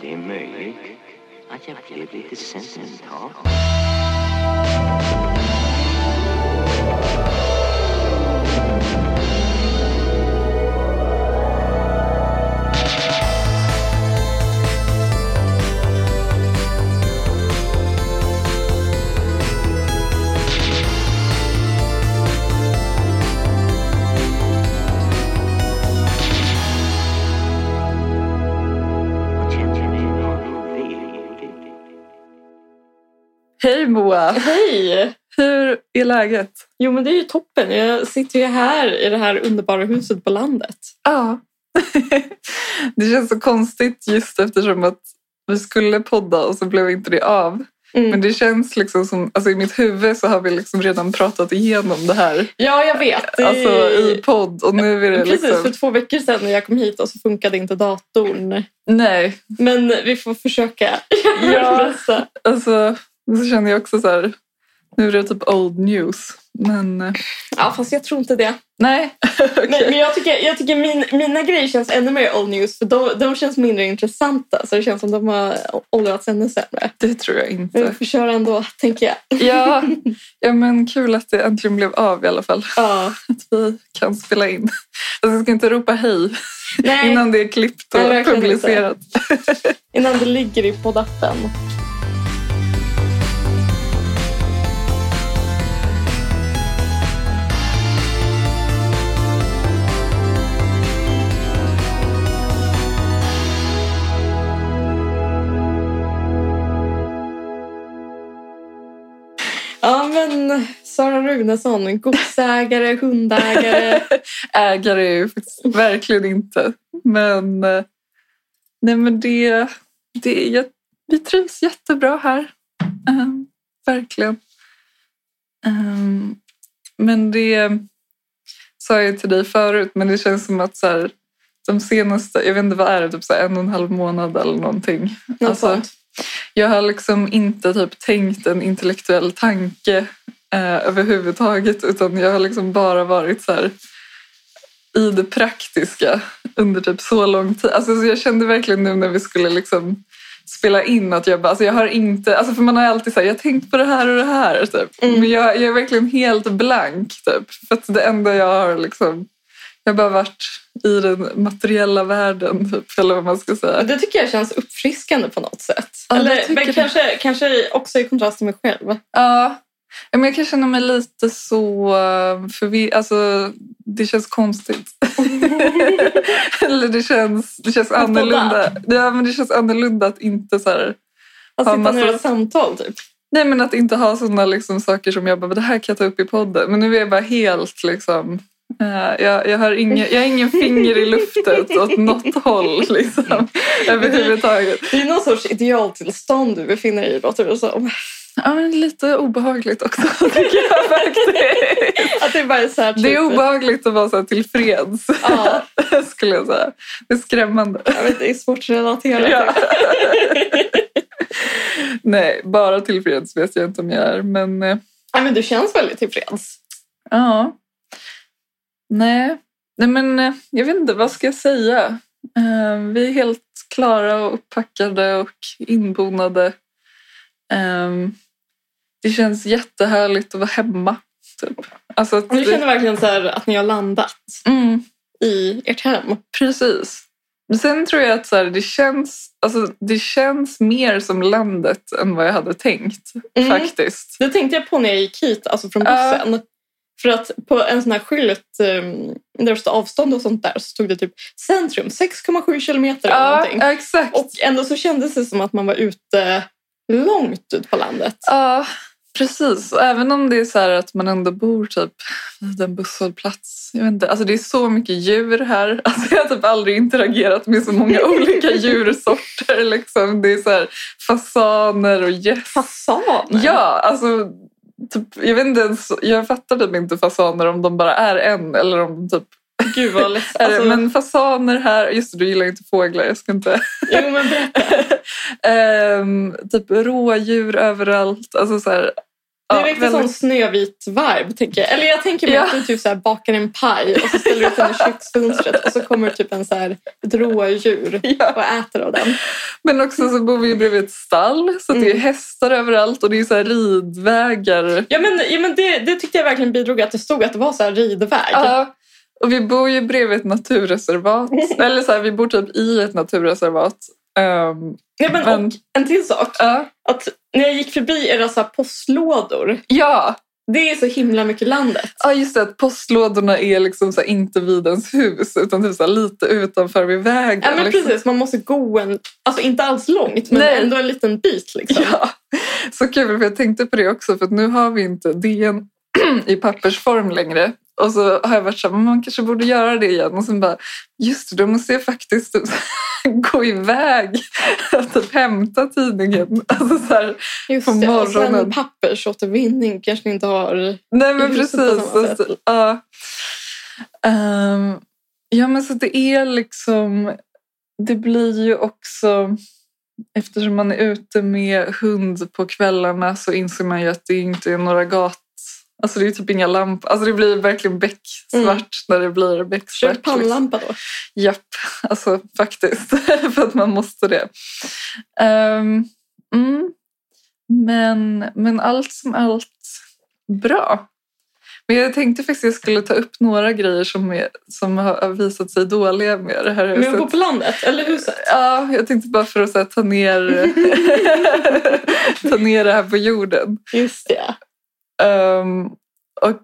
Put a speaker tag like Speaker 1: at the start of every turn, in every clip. Speaker 1: Det är möjligt att jag blev lite sentimental. Jag känner mig bara velig.
Speaker 2: Hej Moa!
Speaker 3: Hej!
Speaker 2: Hur är läget?
Speaker 3: Jo men det är ju toppen. Jag sitter ju här i det här underbara huset på landet.
Speaker 2: Ja. det känns så konstigt just eftersom att vi skulle podda och så blev inte det av. Men det känns liksom som, alltså i mitt huvud så har vi liksom redan pratat igenom det här.
Speaker 3: Ja, jag vet. Det-
Speaker 2: Alltså i podd och nu är det
Speaker 3: Precis, för
Speaker 2: liksom...
Speaker 3: två veckor sedan när jag kom hit och så funkade inte datorn.
Speaker 2: Nej,
Speaker 3: Men vi får försöka.
Speaker 2: Ja.
Speaker 3: lösa.
Speaker 2: alltså så känner jag också så här, nu är det typ old news. Men eh,
Speaker 3: ja, fast jag tror inte det.
Speaker 2: nej, okej.
Speaker 3: Nej, men jag tycker, jag tycker min, mina grejer känns ännu mer old news för de, de känns mindre intressanta. Så det känns som de har åldrats ännu sämre.
Speaker 2: det tror jag
Speaker 3: Men vi
Speaker 2: inte.
Speaker 3: får köra ändå, tänker jag.
Speaker 2: Ja, ja, men kul att det äntligen blev av i alla fall.
Speaker 3: Ja.
Speaker 2: att vi kan spela in. Alltså, jag ska inte ropa hej
Speaker 3: Nej, innan...
Speaker 2: innan det är klippt och
Speaker 3: Nej, verkligen
Speaker 2: publicerat.
Speaker 3: innan det ligger i poddappen. Ja, men Sara Runesson, godsägare, hundägare.
Speaker 2: Ägare är ju faktiskt verkligen inte. Men, eh, nej, men det, det är, jät- vi trivs jättebra här. Ehm, verkligen. Ehm, men det sa jag ju till dig förut, men det känns som att så här, de senaste, jag vet inte vad är det, typ så här en och en halv månad eller någonting.
Speaker 3: Något
Speaker 2: Alltså,
Speaker 3: sånt.
Speaker 2: Jag har liksom inte typ tänkt en intellektuell tanke eh, överhuvudtaget utan jag har liksom bara varit så här i det praktiska under typ så lång tid. Alltså, så jag kände verkligen nu när vi skulle liksom spela in att jag bara, alltså jag har inte, alltså för man har alltid sagt jag har tänkt på det här och det här typ.
Speaker 3: Mm.
Speaker 2: Men jag, jag är verkligen helt blank typ. För att det enda jag har liksom, jag har bara varit i den materiella världen typ, eller vad man ska säga.
Speaker 3: Det tycker jag känns uppfriskande på något sätt.
Speaker 2: Ja, det
Speaker 3: Eller,
Speaker 2: tycker
Speaker 3: men
Speaker 2: jag.
Speaker 3: kanske, kanske också i kontrast till mig själv.
Speaker 2: Ja, Ja, men jag kan känna mig lite så förvirrad. Alltså, det känns konstigt. Eller det känns, det känns
Speaker 3: Att podda.
Speaker 2: annorlunda. Ja, men det känns annorlunda att inte så här,
Speaker 3: Att
Speaker 2: Ja,
Speaker 3: sitta
Speaker 2: massa-
Speaker 3: ner i ett samtal typ.
Speaker 2: Nej, men att inte ha sådana liksom, saker som jag bara, det här kan jag ta upp i podden. Men nu är jag bara helt liksom... eh, jag, jag, har ingen, jag har ingen finger i luften åt något håll liksom, överhuvudtaget.
Speaker 3: Det är någon sorts idealtillstånd du befinner dig i låter det som.
Speaker 2: Ja, men lite obehagligt också tycker jag faktiskt.
Speaker 3: Att det bara är så här, typ,
Speaker 2: Det är obehagligt att vara så här tillfreds.
Speaker 3: Ja,
Speaker 2: skulle jag säga. Det är skrämmande.
Speaker 3: jag vet, det är svårt att relatera.
Speaker 2: Ja.
Speaker 3: till.
Speaker 2: Nej, bara tillfreds vet jag inte om jag är. Men eh,
Speaker 3: Ja, men du känns väldigt tillfreds.
Speaker 2: ja. Nej. Nej, men eh, jag vet inte. Vad ska jag säga? Eh, vi är helt klara och upppackade och inbonade. Eh, det känns jättehärligt att vara hemma. Typ. Alltså att,
Speaker 3: Och Du känner verkligen så här att ni har landat
Speaker 2: mm.
Speaker 3: i ert hem.
Speaker 2: Precis. Men sen tror jag att så här, det, känns, alltså, det känns mer som landet än vad jag hade tänkt.
Speaker 3: Mm.
Speaker 2: Faktiskt.
Speaker 3: Det tänkte jag på när jag gick hit, alltså från
Speaker 2: Ja.
Speaker 3: bussen. För att på en sån här skylt um, där det stod avstånd och sånt där så stod det typ centrum 6,7 kilometer eller
Speaker 2: Ja,
Speaker 3: någonting.
Speaker 2: ja, exakt.
Speaker 3: Och ändå så kändes det som att man var ute långt ut på landet.
Speaker 2: Ja, precis. Och även om det är så här att man ändå bor typ vid en busshållplats. Jag vet inte, alltså det är så mycket djur här. Alltså jag har typ aldrig interagerat med så många olika djursorter. Liksom. Det är så här fasaner och gäss.
Speaker 3: Fasaner?
Speaker 2: Ja, alltså typ, jag vet inte ens, jag fattar typ inte fasaner om de bara är en eller om de typ
Speaker 3: Gud vad läskigt.
Speaker 2: är det.
Speaker 3: Alltså,
Speaker 2: Men fasaner här, just det, du gillar ju inte fåglar, jag ska inte.
Speaker 3: Jo men berätta.
Speaker 2: Ehm, typ rådjur överallt, alltså så här,
Speaker 3: Det
Speaker 2: Ja,
Speaker 3: väckte
Speaker 2: väldigt-
Speaker 3: sån snövit vibe, tänker jag. Eller jag tänker mig
Speaker 2: Ja.
Speaker 3: att du typ så här bakar en paj och så ställer du ut den i köksfönstret och så kommer typ en så här, ett rådjur
Speaker 2: Ja.
Speaker 3: och äter av den.
Speaker 2: Men också så bor vi ju bredvid ett stall så att det är
Speaker 3: Mm.
Speaker 2: hästar överallt och det är så här ridvägar.
Speaker 3: Ja, men, ja, men det, det tyckte jag verkligen bidrog att det stod att det var så här ridväg.
Speaker 2: Ja. Och vi bor ju bredvid ett naturreservat. Eller så här, vi bor typ i ett naturreservat. Ehm,
Speaker 3: Ja, men,
Speaker 2: men,
Speaker 3: Och en till sak.
Speaker 2: ja.
Speaker 3: Att när jag gick förbi era så här postlådor,
Speaker 2: ja.
Speaker 3: det är så himla mycket landet.
Speaker 2: Ja, just det. Att postlådorna är liksom så här, inte vid ens hus utan typ så här, lite utanför vid vägen.
Speaker 3: Ja, men
Speaker 2: liksom.
Speaker 3: precis. Man måste gå en, alltså inte alls långt, men
Speaker 2: Nej.
Speaker 3: ändå en liten bit. Liksom.
Speaker 2: Ja, så kul för jag tänkte på det också för att nu har vi inte DN i pappersform längre. Och så har jag varit så här, "Men man kanske borde göra det igen. Och sen bara, just det, då måste jag faktiskt typ gå iväg och typ hämta tidningen. Alltså så här,
Speaker 3: Just
Speaker 2: på
Speaker 3: det. Och sen
Speaker 2: morgonen.
Speaker 3: pappersåtervinning kanske ni inte har.
Speaker 2: nej men
Speaker 3: I huset på
Speaker 2: precis.
Speaker 3: samma
Speaker 2: Alltså, ja. Ehm, ja men så det är liksom, det blir ju också, eftersom man är ute med hund på kvällarna så inser man ju att det inte är några gat... Alltså det är typ inga lampor. Alltså det blir verkligen becksvart
Speaker 3: Mm.
Speaker 2: när det blir
Speaker 3: Kör
Speaker 2: becksvart. liksom.
Speaker 3: pannlampa då.
Speaker 2: Japp, alltså faktiskt. för att man måste det. Ehm, mm. men, men allt som allt bra. Men jag tänkte faktiskt att jag skulle ta upp några grejer som, är, som har visat sig dåliga med det här
Speaker 3: Men jag bor
Speaker 2: huset.
Speaker 3: på landet, eller huset.
Speaker 2: Ja, jag tänkte bara för att så här, ta, ner, ta ner det här på jorden.
Speaker 3: Just det.
Speaker 2: Ehm, och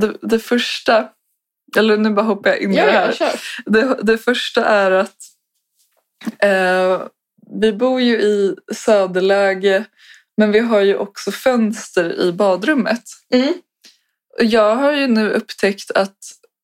Speaker 2: det, det första, eller nu bara hoppar jag in i
Speaker 3: Ja,
Speaker 2: det här.
Speaker 3: ja, kör.
Speaker 2: Det, det första är att eh, vi bor ju i söderläge men vi har ju också fönster i badrummet.
Speaker 3: Mm.
Speaker 2: Och Jag har ju nu upptäckt att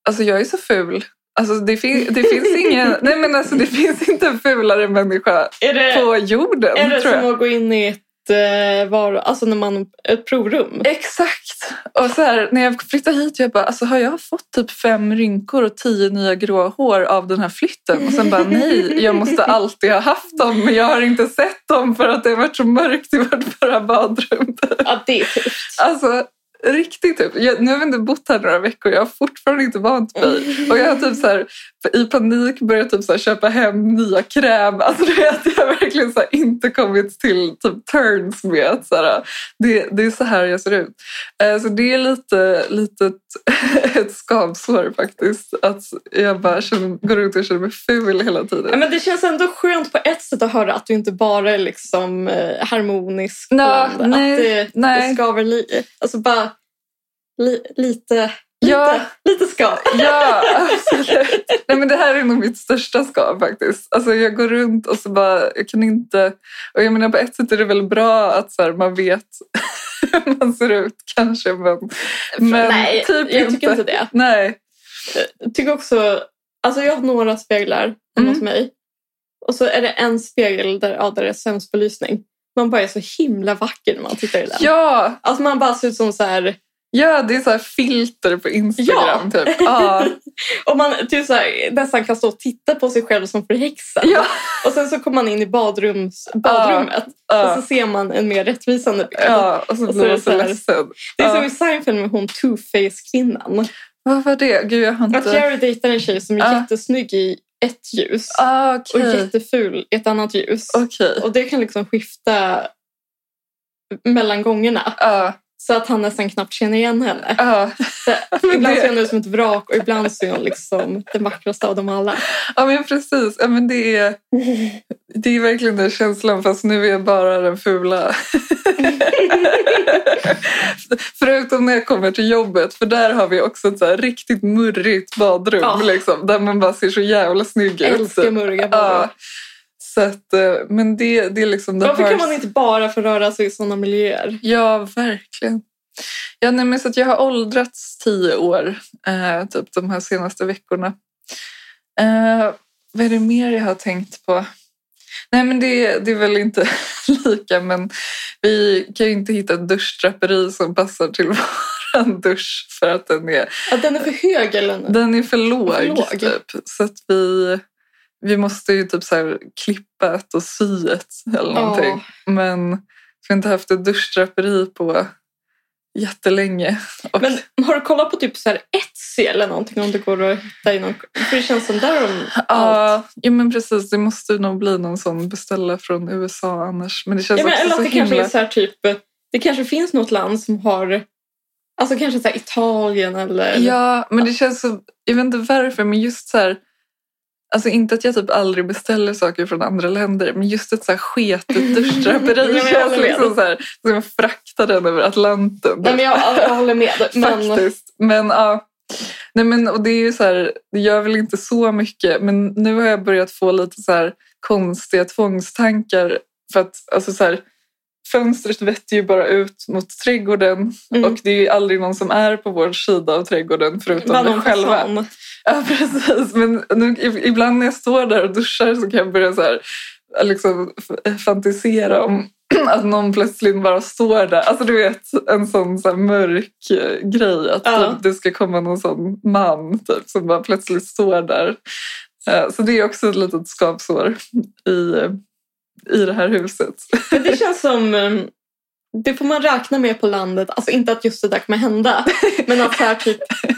Speaker 2: alltså jag är så ful. Alltså det, fin- det, finns ingen, nej men alltså det finns inte en fulare människa
Speaker 3: Är det,
Speaker 2: på jorden.
Speaker 3: är det
Speaker 2: tror jag.
Speaker 3: som att gå in i ett, eh, var, alltså när man, ett provrum?
Speaker 2: Eh, Exakt! Och så här, när jag flyttade hit, jag bara, alltså har jag fått typ fem rynkor och tio nya grå hår av den här flytten? Och sen bara, nej, jag måste alltid ha haft dem, men jag har inte sett dem för att det har varit så mörkt i vårt förra badrum.
Speaker 3: Ja, det är tufft.
Speaker 2: Alltså, riktigt typ. Jag, nu har vi inte bott här några veckor, jag har fortfarande inte vant mig. Och jag har typ så här, i panik börjat typ så här, köpa hem nya kräm. Alltså du vet, jag har verkligen så här, inte kommit till typ turns med att så här, det, det är så här jag ser ut. Eh, så det är lite, lite ett, ett skavsår faktiskt. Att jag bara känner, går runt och känner mig ful hela
Speaker 3: Ja,
Speaker 2: tiden.
Speaker 3: men det känns ändå skönt på ett sätt att höra att du inte bara är liksom eh, harmonisk.
Speaker 2: Nå,
Speaker 3: bland-
Speaker 2: nej,
Speaker 3: att det, det
Speaker 2: nej.
Speaker 3: skaver li, alltså bara li, lite,
Speaker 2: Ja.
Speaker 3: lite, lite skav.
Speaker 2: Ja, absolut. Nej, men det här är nog mitt största skav faktiskt. Alltså, jag går runt och så bara, jag kan inte... Och jag menar på ett sätt är det väl bra att så här, man vet hur man ser ut kanske, men, men
Speaker 3: nej,
Speaker 2: typ
Speaker 3: jag tycker inte det.
Speaker 2: Nej.
Speaker 3: Jag tycker också, alltså jag har några speglar hemma
Speaker 2: Mm.
Speaker 3: hos mig. Och så är det en spegel där, ja, där det är sämst belysning. Man bara är så himla vacker när man tittar i den.
Speaker 2: Ja,
Speaker 3: Alltså man bara ser ut som så här...
Speaker 2: ja, det är så här filter på Instagram typ. Ja,
Speaker 3: Och man typ så här, nästan kan stå och titta på sig själv som förhäxad.
Speaker 2: ja,
Speaker 3: Och sen så kommer man in i badrums, badrummet och
Speaker 2: ja.
Speaker 3: så ser man en mer rättvisande bild.
Speaker 2: ja. Och så
Speaker 3: Och så
Speaker 2: blir
Speaker 3: är
Speaker 2: man
Speaker 3: det så
Speaker 2: så
Speaker 3: här-
Speaker 2: ledsen.
Speaker 3: Det är
Speaker 2: Ja.
Speaker 3: som i Seinfeld med hon two-face-kvinnan.
Speaker 2: Vad var det? Gud, jag har
Speaker 3: Att
Speaker 2: inte...
Speaker 3: Jerry dejtar en tjej som är
Speaker 2: Ja.
Speaker 3: jättesnygg i ett ljus
Speaker 2: Ah,
Speaker 3: och
Speaker 2: Okej.
Speaker 3: jätteful i ett annat ljus.
Speaker 2: Okej.
Speaker 3: Och det kan liksom skifta mellan gångerna
Speaker 2: Ja,
Speaker 3: så att han nästan knappt känner igen henne.
Speaker 2: ja.
Speaker 3: Så ibland ser hon ut som ett vrak och ibland ser hon liksom den vackraste av dem alla.
Speaker 2: Ja, men precis. Ja, men det är... Det är verkligen den känslan, fast nu är jag bara den fula. Förutom när jag kommer till jobbet, för där har vi också ett så här riktigt murrigt badrum
Speaker 3: Ja.
Speaker 2: liksom, där man bara ser så jävla snygg
Speaker 3: Jag
Speaker 2: ut. typ.
Speaker 3: älskar mörka
Speaker 2: Ja.
Speaker 3: ja.
Speaker 2: Så att, eh, men det, det är liksom... the
Speaker 3: Varför kan
Speaker 2: hard-
Speaker 3: man inte bara få röra sig i sådana miljöer?
Speaker 2: Ja, verkligen. Ja, nej, men så att jag har åldrats tio år eh, typ de här senaste veckorna. Eh, vad är det mer jag har tänkt på? Nej, men det, det är väl inte lika, men vi kan ju inte hitta ett duschdraperi som passar till vår dusch för att den är,
Speaker 3: Att den är för hög eller något.
Speaker 2: den är för låg.
Speaker 3: För låg.
Speaker 2: Typ. Så att vi, vi måste ju typ så här klippa ett och sy ett eller
Speaker 3: Ja.
Speaker 2: någonting. Men vi har inte haft ett duschdraperi på jättelänge. Och,
Speaker 3: Men har du kollat på typ så här Etsy eller någonting om det går att hitta i någon... För det känns som där de...
Speaker 2: ja, jo, men precis. Det måste nog bli någon sån beställa från USA annars. Men det känns
Speaker 3: Ja, men,
Speaker 2: också
Speaker 3: eller
Speaker 2: så
Speaker 3: att det
Speaker 2: himla...
Speaker 3: kanske är så här typ... Det kanske finns något land som har... Alltså kanske så här Italien eller...
Speaker 2: Ja, men det känns så... Jag vet inte varför, men just så här... Alltså inte att jag typ aldrig beställer saker från andra länder, men just ett så här sketigt
Speaker 3: Ja, men
Speaker 2: duschdraperi
Speaker 3: jag
Speaker 2: känns
Speaker 3: håller med.
Speaker 2: liksom så här, som jag fraktar den över Atlanten.
Speaker 3: Nej, men jag, jag håller med. Men,
Speaker 2: Faktiskt. Men ja. Nej, men, och det är ju så här, det gör väl inte så mycket, men nu har jag börjat få lite så här konstiga tvångstankar. För att alltså så här, fönstret vetter ju bara ut mot trädgården
Speaker 3: Mm.
Speaker 2: och det är ju aldrig någon som är på vår sida av trädgården förutom vi
Speaker 3: Ballong
Speaker 2: själva.
Speaker 3: fasan.
Speaker 2: Ja, precis. Men nu, i- ibland när jag står där och duschar så kan jag börja så här, liksom, f- fantisera om att någon plötsligt bara står där. Alltså du vet, en sån så här, mörk eh, grej. Att
Speaker 3: Ja.
Speaker 2: typ, det ska komma någon sån man typ, som bara plötsligt står där. Eh, Så det är också ett litet skavsår i, eh, i det här huset.
Speaker 3: Men det känns som... um, Det får man räkna med på landet. Alltså inte att just det där kommer hända. Men att så här typ...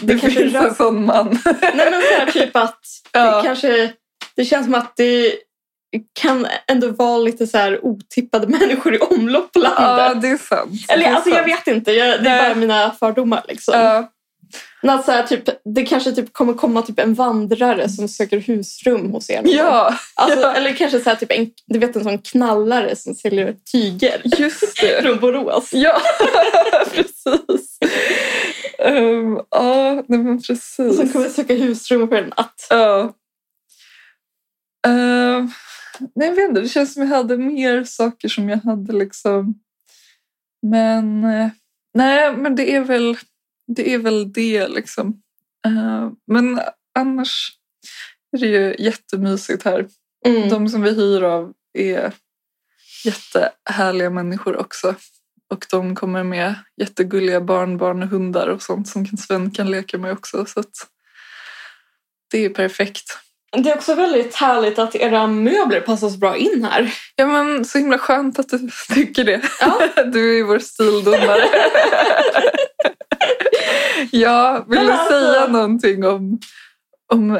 Speaker 2: Det,
Speaker 3: kanske
Speaker 2: finns
Speaker 3: rör-
Speaker 2: en sån man.
Speaker 3: Nej men så här typ att det
Speaker 2: Ja,
Speaker 3: kanske... Det känns som att det kan ändå vara lite så här otippade människor i omlopp på
Speaker 2: ja
Speaker 3: landet.
Speaker 2: det är sant.
Speaker 3: Eller
Speaker 2: det är
Speaker 3: alltså jag
Speaker 2: sant.
Speaker 3: vet inte. Jag, det är
Speaker 2: Nej.
Speaker 3: bara mina fördomar liksom.
Speaker 2: Ja,
Speaker 3: Men att så här, typ, det kanske typ kommer komma typ en vandrare som söker husrum hos er.
Speaker 2: ja,
Speaker 3: Alltså,
Speaker 2: ja.
Speaker 3: Eller kanske så här, typ en, du vet, en sån knallare som säljer tyger
Speaker 2: just det.
Speaker 3: från Borås.
Speaker 2: Ja, precis. Ehm, Ja, nej men
Speaker 3: Som
Speaker 2: precis.
Speaker 3: kommer söka husrum för en natt.
Speaker 2: Ja. Ehm, nej, jag vet inte, det känns som jag hade mer saker som jag hade liksom. Men eh, nej, men det är väl det, är väl det liksom. Ehm, men annars är det ju jättemysigt här.
Speaker 3: Mm.
Speaker 2: De som vi hyr av är jättehärliga människor också. Och de kommer med jättegulliga barnbarn och hundar och sånt som Sven kan leka med också. Så att det är ju perfekt.
Speaker 3: Det är också väldigt härligt att era möbler passar så bra in här.
Speaker 2: Ja men så himla skönt att du tycker det.
Speaker 3: Ja.
Speaker 2: Du är ju vår stildomare. ja, vill
Speaker 3: Men
Speaker 2: du
Speaker 3: alltså-
Speaker 2: säga någonting om, om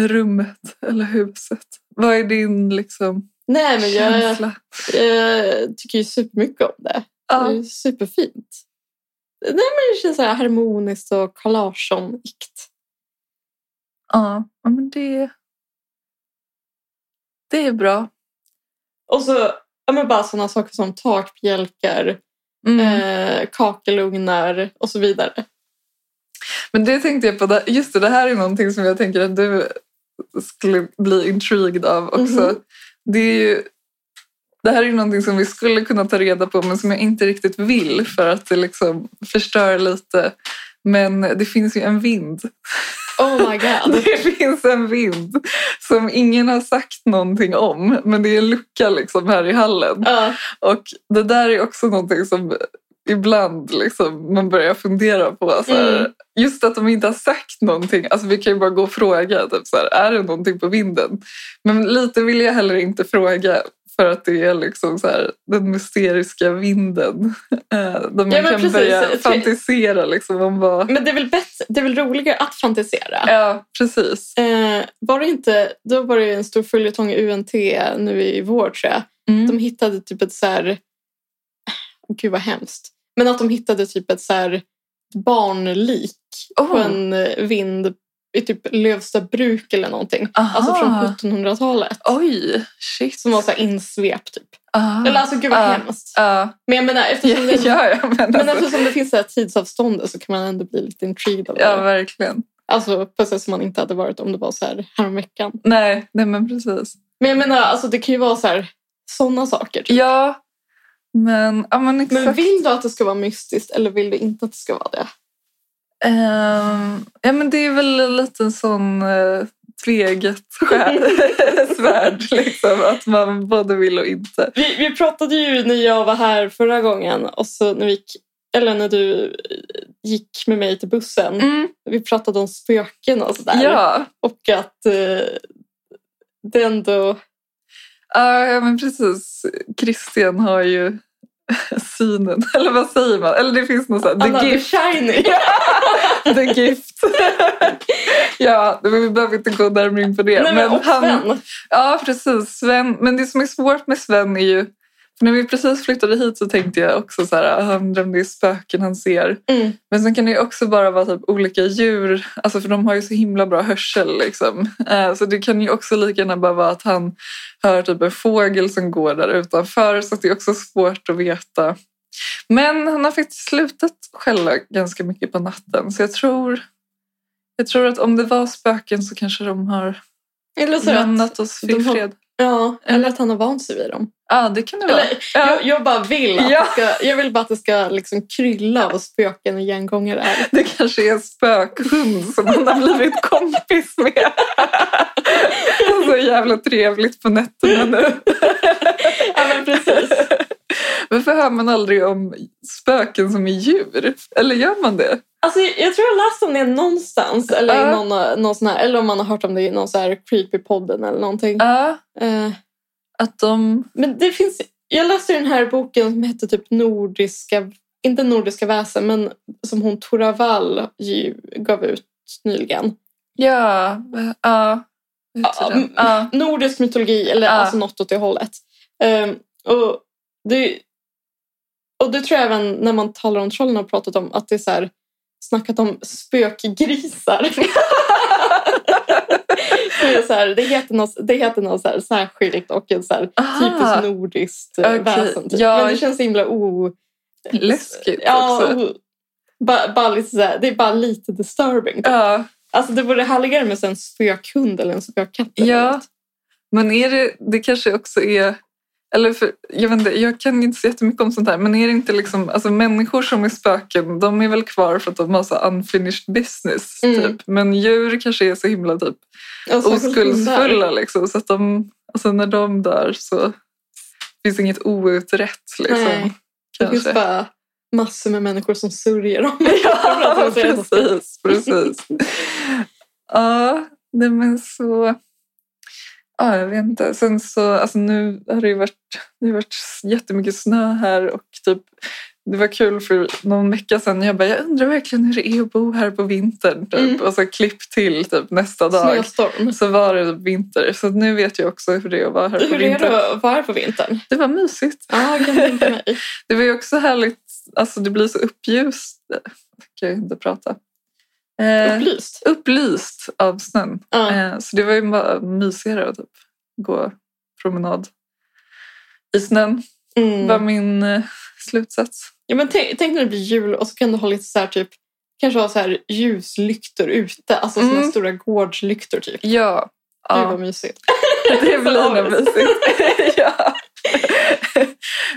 Speaker 2: rummet eller huset? Vad är din liksom,
Speaker 3: Nej, men jag,
Speaker 2: känsla?
Speaker 3: jag tycker ju supermycket om det.
Speaker 2: Ja.
Speaker 3: Det är superfint. Nej, men det känns så här harmoniskt och Carl Larsson-ikt.
Speaker 2: Ja, ja, men det... Det är bra.
Speaker 3: Och så ja, men bara sådana saker som takbjälkar,
Speaker 2: Mm.
Speaker 3: eh, kakelugnar och så vidare.
Speaker 2: Men det tänkte jag på, där- just det, det här är någonting som jag tänker att du skulle bli intrigued av också.
Speaker 3: Mhm.
Speaker 2: Det är ju... Det här är ju någonting som vi skulle kunna ta reda på men som jag inte riktigt vill för att det liksom förstör lite. Men det finns ju en vind.
Speaker 3: Oh my god.
Speaker 2: Det finns en vind som ingen har sagt någonting om men det är en lucka liksom här i hallen.
Speaker 3: Ja,
Speaker 2: Och det där är också någonting som ibland liksom man börjar fundera på. Så här,
Speaker 3: Mm.
Speaker 2: Just att de inte har sagt någonting. Alltså vi kan ju bara gå och fråga. Typ, så här, är det någonting på vinden? Men lite vill jag heller inte fråga. För att det är liksom så här, den mysteriska vinden. eh, Där man
Speaker 3: men
Speaker 2: kan
Speaker 3: precis. Mm.
Speaker 2: börja
Speaker 3: Tre-
Speaker 2: fantisera liksom, om vad...
Speaker 3: men det är väl, bättre, det är väl roligare att fantisera?
Speaker 2: Ja, precis.
Speaker 3: Eh, var det inte, då var det ju en stor följetong i UNT nu i vår tror jag.
Speaker 2: Mm.
Speaker 3: De hittade typ ett så här... Gud vad hemskt. Men att de hittade typ ett så här barnlik på
Speaker 2: Oh,
Speaker 3: en eh, vind i typ Lövsta bruk eller någonting.
Speaker 2: aha.
Speaker 3: Alltså från 1700-talet.
Speaker 2: Oj, shit.
Speaker 3: Som var så här insvep typ.
Speaker 2: Ah.
Speaker 3: Eller alltså gud vad
Speaker 2: Ah.
Speaker 3: hemskt.
Speaker 2: Ja,
Speaker 3: Men jag menar eftersom det,
Speaker 2: ja, alltså. jag menar
Speaker 3: men alltså-
Speaker 2: så.
Speaker 3: eftersom det finns så här tidsavstånd så kan man ändå bli lite intrigued av det.
Speaker 2: Ja, verkligen.
Speaker 3: Alltså på ett sätt som man inte hade varit om det var så här häromveckan.
Speaker 2: Nej, nej men precis.
Speaker 3: Men jag menar, alltså det kan ju vara så här, sådana saker. typ.
Speaker 2: Ja, men, ja, men exakt.
Speaker 3: Men vill du att det ska vara mystiskt eller vill du inte att det ska vara det?
Speaker 2: Ehm, ja, men det är väl lite en sån uh, tveget skär- svärd. Liksom, att man både vill och inte.
Speaker 3: Vi, vi pratade ju när jag var här förra gången och så när, vi gick, eller när du eh, gick med mig till bussen. Vi pratade om spöken och sådär.
Speaker 2: Mm. Ja,
Speaker 3: Och att eh, det ändå...
Speaker 2: Ja, ja, men precis. Christian har ju synen. Eller vad säger man? Eller det finns något så här,
Speaker 3: Alla,
Speaker 2: the
Speaker 3: the
Speaker 2: gift.
Speaker 3: shiny.
Speaker 2: The gift. ja, men vi behöver inte gå närmare in på det.
Speaker 3: Nej, men, och
Speaker 2: han,
Speaker 3: Sven.
Speaker 2: ja, precis. Sven. Men det som är svårt med Sven är ju... För när vi precis flyttade hit så tänkte jag också så här, han drömde ju spöken han ser.
Speaker 3: Mm.
Speaker 2: Men sen kan det ju också bara vara typ olika djur, alltså för de har ju så himla bra hörsel. Liksom. Eh, Så det kan ju också lika gärna bara vara att han hör typ en fågel som går där utanför. Så att det är också svårt att veta. Men han har faktiskt slutat skälla ganska mycket på natten. Så jag tror, jag tror att om det var spöken så kanske de har
Speaker 3: Eller så att,
Speaker 2: lämnat oss
Speaker 3: de har-
Speaker 2: fred.
Speaker 3: ja, eller att han har vant sig vid dem.
Speaker 2: Ja, det kan det vara.
Speaker 3: Eller, jag, jag bara vill att
Speaker 2: Ja.
Speaker 3: det ska, jag vill bara att det ska liksom krylla av spöken och gengångare är.
Speaker 2: Det kanske är en spökhund som han har blivit kompis med. Så jävla trevligt på nätterna nu.
Speaker 3: Ja, men precis.
Speaker 2: Varför hör man aldrig om spöken som är djur? Eller gör man det?
Speaker 3: Alltså, jag tror jag läst om det någonstans eller, i
Speaker 2: Ja.
Speaker 3: någon, någon sån här, eller om man har hört om det i någon sån här creepy-podden eller någonting.
Speaker 2: Ja,
Speaker 3: Eh,
Speaker 2: att de...
Speaker 3: Men det finns, jag läste ju den här boken som hette typ Nordiska, inte Nordiska väsen, men som hon Tora Wall ju gav ut nyligen.
Speaker 2: Ja, ja. Vad heter
Speaker 3: Ja,
Speaker 2: den?
Speaker 3: mm.
Speaker 2: Ja.
Speaker 3: Nordisk mytologi, eller
Speaker 2: Ja.
Speaker 3: alltså något åt det hållet. Ehm, och, det, och det tror jag även när man talar om trollen har pratat om, att det är så här, snackat om spökgrisar. så det, är så här, det heter något, det heter något så här, särskilt och en så här,
Speaker 2: Aha.
Speaker 3: typiskt nordiskt eh,
Speaker 2: Ah. Okej,
Speaker 3: väsen. Typ.
Speaker 2: ja.
Speaker 3: Men det känns så himla o...
Speaker 2: Läskigt
Speaker 3: Ja,
Speaker 2: också.
Speaker 3: o- bara, bara lite så här, det är bara lite disturbing.
Speaker 2: Ja.
Speaker 3: Alltså det vore härligare med så en spökhund eller en spökkatt. eller
Speaker 2: Ja.
Speaker 3: något.
Speaker 2: Men är det, det kanske också är... Eller för, jag, vet inte, jag kan inte så jättemycket om sånt här, men är det inte liksom... Alltså människor som är spöken, de är väl kvar för att de har så unfinished business.
Speaker 3: Mm.
Speaker 2: Typ. Men djur kanske är så himla typ
Speaker 3: Och särskilt hundar.
Speaker 2: oskuldsfulla. Liksom, så att de, alltså när de dör så finns inget outrätt. Liksom,
Speaker 3: Nej, Det finns
Speaker 2: kanske.
Speaker 3: bara massor med människor som sörjer dem.
Speaker 2: Ja, precis. precis. ja, nej men så... Ja, jag vet inte. Sen så, alltså nu har det ju varit, det har varit jättemycket snö här och typ det var kul för någon vecka sedan. Jag bara, jag undrar verkligen hur det är att bo här på vintern. Typ.
Speaker 3: Mm.
Speaker 2: Och så klipp till typ nästa dag.
Speaker 3: Snöstorm.
Speaker 2: Så var det vinter. Så nu vet jag också hur det är att vara här på
Speaker 3: Hur är
Speaker 2: vintern.
Speaker 3: det att vara här på vintern?
Speaker 2: Det var mysigt.
Speaker 3: Ja, jag kan tänka mig.
Speaker 2: Det var ju också härligt, alltså det blir så uppljust. Kan jag inte prata. Eh,
Speaker 3: Upplyst.
Speaker 2: upplyst av snön.
Speaker 3: Ja.
Speaker 2: Eh, så det var ju bara mysigare att typ, gå promenad i snön. var
Speaker 3: Mm.
Speaker 2: min eh, slutsats.
Speaker 3: Ja, men tänk, tänk när det blir jul och så kan du ha lite så här typ Kanske ha så här ljuslyktor ute, alltså såna
Speaker 2: Mm.
Speaker 3: stora gårdslyktor typ.
Speaker 2: Ja,
Speaker 3: Gud vad
Speaker 2: ja
Speaker 3: mysigt.
Speaker 2: det blir nog
Speaker 3: Avis.
Speaker 2: mysigt. ja.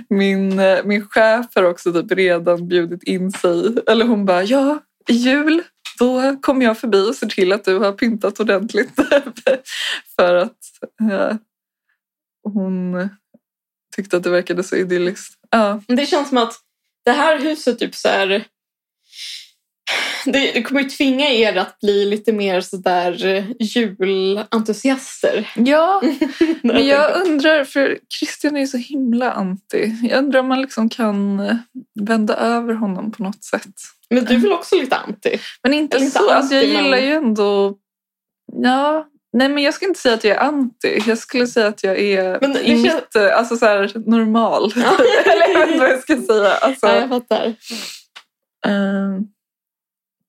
Speaker 2: min, eh, min chef har också typ redan bjudit in sig. Eller hon bara, ja, i jul då kommer jag förbi och ser till att du har pyntat ordentligt. För att eh, hon tyckte att det verkade så idylliskt. Ja.
Speaker 3: Men det känns som att det här huset typ så här... Det, det kommer ju tvinga er att bli lite mer så där eh, julentusiaster.
Speaker 2: ja,
Speaker 3: När
Speaker 2: Men
Speaker 3: tänker-
Speaker 2: jag undrar, för Christian är ju så himla anti. Jag undrar om man liksom kan eh, vända över honom på något sätt.
Speaker 3: Men du är väl också lite anti?
Speaker 2: Men inte
Speaker 3: Eller inte
Speaker 2: så. Alltså jag
Speaker 3: anti, men-
Speaker 2: gillar ju ändå... Ja. Nej, men jag skulle inte säga att jag är anti. Jag skulle säga att jag är
Speaker 3: Men det
Speaker 2: i
Speaker 3: känns-
Speaker 2: mitt, eh, alltså så här, normal.
Speaker 3: Ja.
Speaker 2: Eller jag vet inte vad jag ska säga. Alltså,
Speaker 3: Ja, jag fattar.
Speaker 2: eh,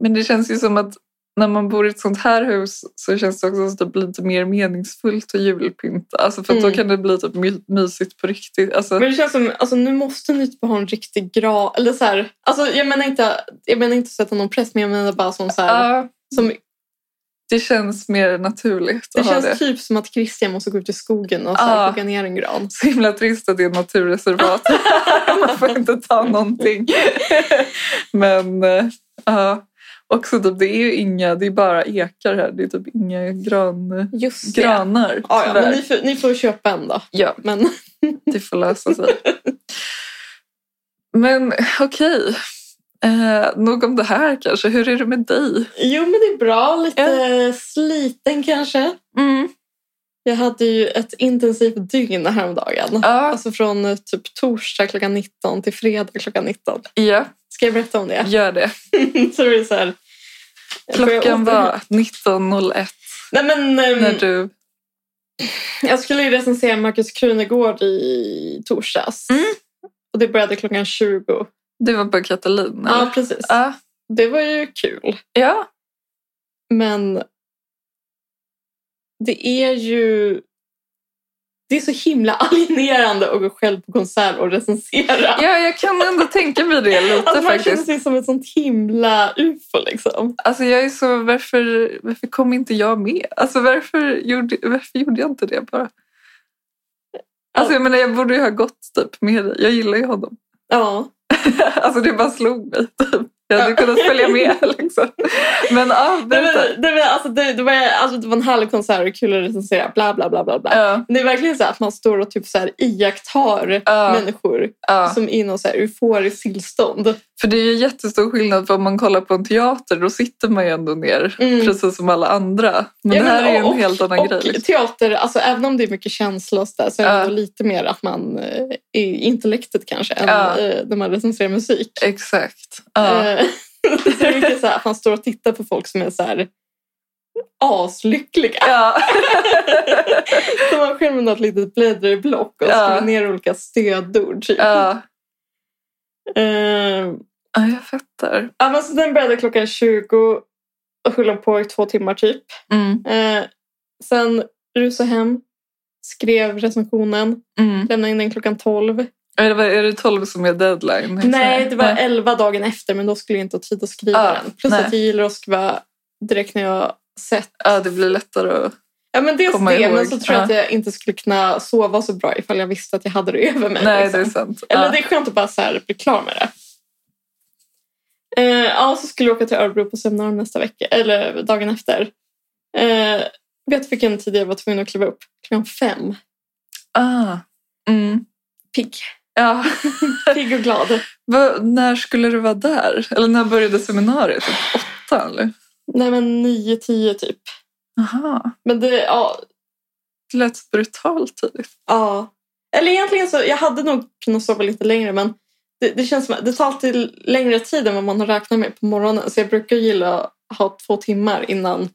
Speaker 2: men det känns ju som att när man bor i ett sånt här hus så känns det också som att det blir lite mer meningsfullt att julpynta. Alltså för att då
Speaker 3: Mm.
Speaker 2: kan det bli typ my- mysigt på riktigt. Alltså,
Speaker 3: Men det känns som, alltså nu måste ni typ ha en riktig grav, eller så här, alltså jag menar inte, jag menar inte sätta någon press, men jag menar bara som så här,
Speaker 2: Ja,
Speaker 3: som,
Speaker 2: det känns mer naturligt
Speaker 3: det
Speaker 2: att ha
Speaker 3: känns
Speaker 2: det.
Speaker 3: typ som att Christian måste gå ut i skogen och så här,
Speaker 2: Ja.
Speaker 3: hugga ner en gran.
Speaker 2: Så himla trist att det är naturreservat. Man får inte ta någonting. Men eh, ja, också typ, det är ju inga, det är bara ekar här. Det är typ inga gran,
Speaker 3: Just det.
Speaker 2: granar.
Speaker 3: Ja, ja, men
Speaker 2: tyvärr.
Speaker 3: ni får, ni får köpa en då.
Speaker 2: ja,
Speaker 3: Men
Speaker 2: det får lösa sig. Men okej, eh, nog om det här kanske. Hur är det med dig?
Speaker 3: Mm. Jo, men det är bra. Lite sliten kanske. Jag hade ju ett intensivt dygn häromdagen.
Speaker 2: Ja,
Speaker 3: Alltså från eh, typ torsdag klockan 19 till fredag klockan 19.
Speaker 2: ja,
Speaker 3: Ska jag berätta om det?
Speaker 2: gör det.
Speaker 3: så det är så här, Får jag
Speaker 2: Klockan
Speaker 3: åter-
Speaker 2: var 19.01
Speaker 3: Nej, men, ehm,
Speaker 2: när du...
Speaker 3: Jag skulle ju recensera Markus Krunegård i torsdags.
Speaker 2: Mm.
Speaker 3: Och det började klockan 20.
Speaker 2: Du var på Katalin,
Speaker 3: Ja,
Speaker 2: eller?
Speaker 3: precis.
Speaker 2: Ja.
Speaker 3: Det var ju kul.
Speaker 2: Ja.
Speaker 3: Men det är ju... Det är så himla alienerande att gå själv på konsert och recensera.
Speaker 2: ja, jag kan ändå tänka mig det lite
Speaker 3: Alltså, man känner
Speaker 2: faktiskt.
Speaker 3: sig som ett sånt himla ufo liksom.
Speaker 2: Alltså jag är så, varför, varför kom inte jag med? Alltså varför gjorde, varför gjorde jag inte det bara? Alltså jag menar, jag borde ju ha gått typ med dig. Jag gillar ju honom.
Speaker 3: Ja.
Speaker 2: Alltså det bara slog mig typ. Jag hade
Speaker 3: Ja.
Speaker 2: kunnat följa med liksom. Men ja,
Speaker 3: Det
Speaker 2: berätta.
Speaker 3: var, det, var, alltså, det, det, var, alltså, det var en härlig konsert och kul att recensera. Bla, bla, bla, bla, bla.
Speaker 2: Ja,
Speaker 3: Det är verkligen så här att man står och typ så här iakttar
Speaker 2: ja,
Speaker 3: människor
Speaker 2: ja.
Speaker 3: som är i någon så här euforisk tillstånd. Mm.
Speaker 2: För det är ju jättestor skillnad på om man kollar på en teater. Då sitter man ju ändå ner.
Speaker 3: Mm.
Speaker 2: Precis som alla andra. Men
Speaker 3: Ja,
Speaker 2: det här
Speaker 3: men
Speaker 2: är ju en
Speaker 3: och-
Speaker 2: helt annan
Speaker 3: Och
Speaker 2: grej. liksom.
Speaker 3: teater, alltså, även om det är mycket känslor och så, där, så är det
Speaker 2: Ja.
Speaker 3: ändå lite mer att man eh, är intellektet kanske än
Speaker 2: Ja.
Speaker 3: eh, när man recenserar musik.
Speaker 2: Exakt. Ja.
Speaker 3: Eh, så det är mycket så här att man står och tittar på folk som är så här aslyckliga.
Speaker 2: Ja.
Speaker 3: Som man själv med något litet bläddrarblock och
Speaker 2: Ja.
Speaker 3: skriver ner olika stödord. Typ.
Speaker 2: Ja.
Speaker 3: Eh,
Speaker 2: ja, jag fattar.
Speaker 3: ja, men så den började klockan 20 och höll på i två timmar typ.
Speaker 2: Mm,
Speaker 3: Eh, sen rusade hem, skrev recensionen,
Speaker 2: mm.
Speaker 3: lämnade in den klockan 12.
Speaker 2: Är det, bara- är det 12 som är deadline?
Speaker 3: Nej, det var 11 dagen efter men då skulle jag inte ha tid att skriva
Speaker 2: Ja,
Speaker 3: den. Plus
Speaker 2: nej.
Speaker 3: att jag gillar att skriva direkt när jag sett.
Speaker 2: Ja, det blir lättare att...
Speaker 3: Ja, men dels
Speaker 2: Komma
Speaker 3: det,
Speaker 2: ihåg.
Speaker 3: men så tror jag
Speaker 2: Ja.
Speaker 3: att jag inte skulle kunna sova så bra ifall jag visste att jag hade det över mig.
Speaker 2: Nej,
Speaker 3: liksom.
Speaker 2: det är sant.
Speaker 3: Eller
Speaker 2: ja.
Speaker 3: det är skönt att bara så här bli klar med det. Eh, ja, så skulle jag åka till Örebro på seminarium nästa vecka, eller dagen efter. Eh, vet du vilken tid jag var tvungen att kliva upp? Klockan fem.
Speaker 2: Ah. Mm.
Speaker 3: Pigg.
Speaker 2: Ja.
Speaker 3: Pigg och glad.
Speaker 2: Va, när skulle du vara där? Eller när började seminariet? Typ Åtta, eller?
Speaker 3: Nej men nio, tio typ.
Speaker 2: Aha.
Speaker 3: Men det, ja.
Speaker 2: Det lät så brutalt tidigt.
Speaker 3: ja. Eller egentligen så, jag hade nog kunnat sova lite längre men det, det känns som att det tar alltid längre tid än vad man har räknat med på morgonen. Så jag brukar gilla att ha två timmar innan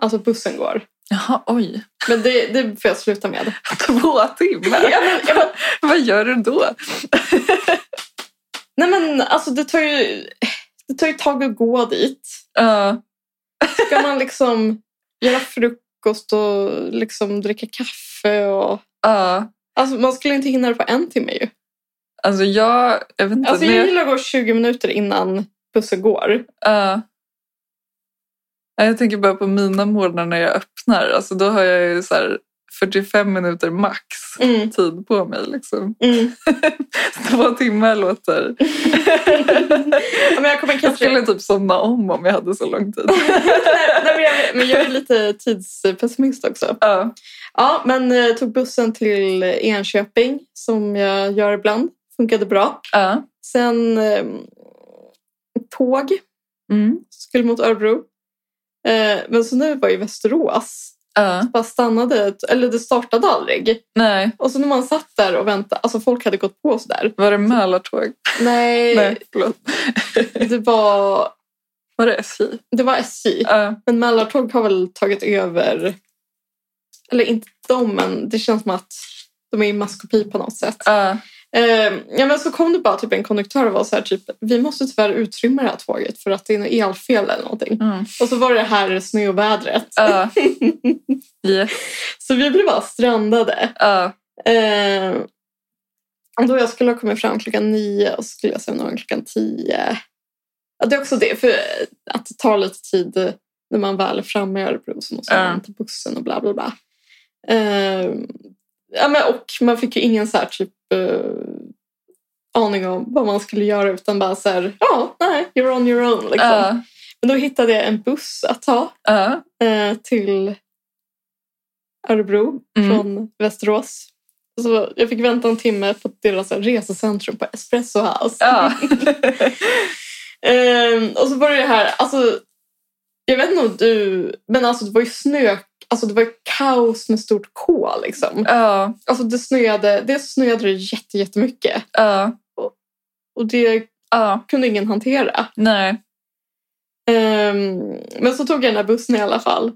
Speaker 3: alltså bussen går.
Speaker 2: Jaha, oj.
Speaker 3: Men det, det får jag sluta med.
Speaker 2: Två timmar?
Speaker 3: Ja, men, ja, men,
Speaker 2: Vad gör du då?
Speaker 3: nej men alltså det tar ju det tar ju ett tag att gå dit.
Speaker 2: Ja.
Speaker 3: Ska man liksom göra frukost och liksom dricka kaffe och...
Speaker 2: ja.
Speaker 3: Alltså man skulle inte hinna det på en timme ju.
Speaker 2: Alltså jag... Jag vet inte.
Speaker 3: Alltså
Speaker 2: när
Speaker 3: jag
Speaker 2: jag-
Speaker 3: gillar att gå 20 minuter innan bussen går.
Speaker 2: Ja. Nej, Jag tänker bara på mina morgnar när jag öppnar. Alltså då har jag ju så här 45 minuter max
Speaker 3: Mm,
Speaker 2: tid på mig. Liksom.
Speaker 3: mm.
Speaker 2: Två timmar låter...
Speaker 3: Ja, men jag kommer
Speaker 2: jag
Speaker 3: kanske...
Speaker 2: skulle typ somna om om jag hade så lång tid.
Speaker 3: nej, nej, men, jag, men jag är lite tidspessimist också.
Speaker 2: Ja.
Speaker 3: Ja, men eh, tog bussen till Enköping som jag gör ibland. Funkade bra.
Speaker 2: Ja.
Speaker 3: Sen ehm, tåg
Speaker 2: Mm.
Speaker 3: skulle mot Örebro. Eh, men så nu var jag i Västerås.
Speaker 2: Ja.
Speaker 3: Bara stannade, ett- eller det startade aldrig.
Speaker 2: Nej,
Speaker 3: Och så när man satt där och väntade, alltså folk hade gått på sådär.
Speaker 2: var det Mälartåg?
Speaker 3: Eh. Nej,
Speaker 2: Nej, förlåt.
Speaker 3: det var,
Speaker 2: Var det SJ?
Speaker 3: det var SJ.
Speaker 2: Ja.
Speaker 3: Men Mälartåg har väl tagit över, eller inte de, men det känns som att de är i maskopi på något sätt.
Speaker 2: Ja.
Speaker 3: Eh, ja, men så kom det bara typ en konduktör och var så här typ, vi måste tyvärr utrymma det här tåget för att det är något elfel eller någonting.
Speaker 2: Mm.
Speaker 3: Och så var det här snövädret.
Speaker 2: Ja. Yes.
Speaker 3: Så vi blev bara strandade.
Speaker 2: Ja.
Speaker 3: Eh, och då jag skulle ha kommit fram klockan nio och så skulle jag seminarium klockan tio. Ja, det är också det, för att det tar lite tid eh, när man väl är framme i Örebro så måste
Speaker 2: Ja.
Speaker 3: man ta bussen och bla bla bla. Eh, ja, men, och man fick ju ingen så här typ eh, aning om vad man skulle göra utan bara så här, ja, nej, you're on your own. Liksom.
Speaker 2: Ja.
Speaker 3: Men då hittade jag en buss att ta
Speaker 2: Ja.
Speaker 3: eh, till Örebro
Speaker 2: Mm.
Speaker 3: från Västerås. Så jag fick vänta en timme på deras resecentrum på Espresso House.
Speaker 2: Ja.
Speaker 3: Ehm, och så var det här, alltså, jag vet inte om du, men alltså det var ju snö alltså det var ju kaos med stort K. Liksom.
Speaker 2: Ja,
Speaker 3: Alltså det snöade, det snöade det jätte, jättemycket
Speaker 2: ja,
Speaker 3: och det
Speaker 2: ja.
Speaker 3: kunde ingen hantera.
Speaker 2: Nej.
Speaker 3: Ehm, men så tog jag den här bussen i alla fall.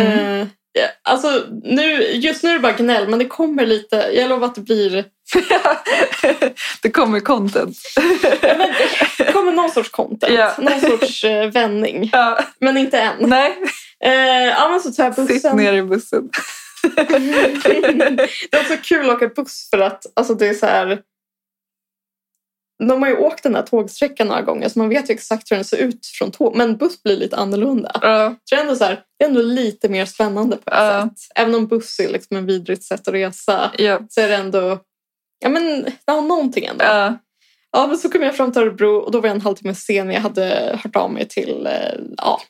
Speaker 2: Mm.
Speaker 3: Eh, ja, alltså, nu, just nu är det bara gnäll, men det kommer lite. Jag lovar att det blir...
Speaker 2: det kommer content.
Speaker 3: Men det kommer någon sorts content,
Speaker 2: Ja.
Speaker 3: någon sorts eh, vändning.
Speaker 2: Ja,
Speaker 3: Men inte än.
Speaker 2: nej,
Speaker 3: Eh, ja, men så tar jag
Speaker 2: sitt
Speaker 3: bussen.
Speaker 2: ner i bussen.
Speaker 3: det är också kul att åka buss för att alltså, det är så här... De har ju åkt den här tågsträckan några gånger så man vet ju exakt hur den ser ut från tåg. Men buss blir lite annorlunda.
Speaker 2: Ja,
Speaker 3: Så det, är ändå så här, det är ändå lite mer spännande på ett
Speaker 2: Ja.
Speaker 3: sätt. Även om buss är liksom en vidrigt sätt att resa
Speaker 2: ja,
Speaker 3: så är det ändå... Ja, men det har någonting ändå. Ja.
Speaker 2: ja,
Speaker 3: men så kom jag fram till Örebro och då var jag en halvtimme sen. Jag hade hört av mig till... eh, Ja,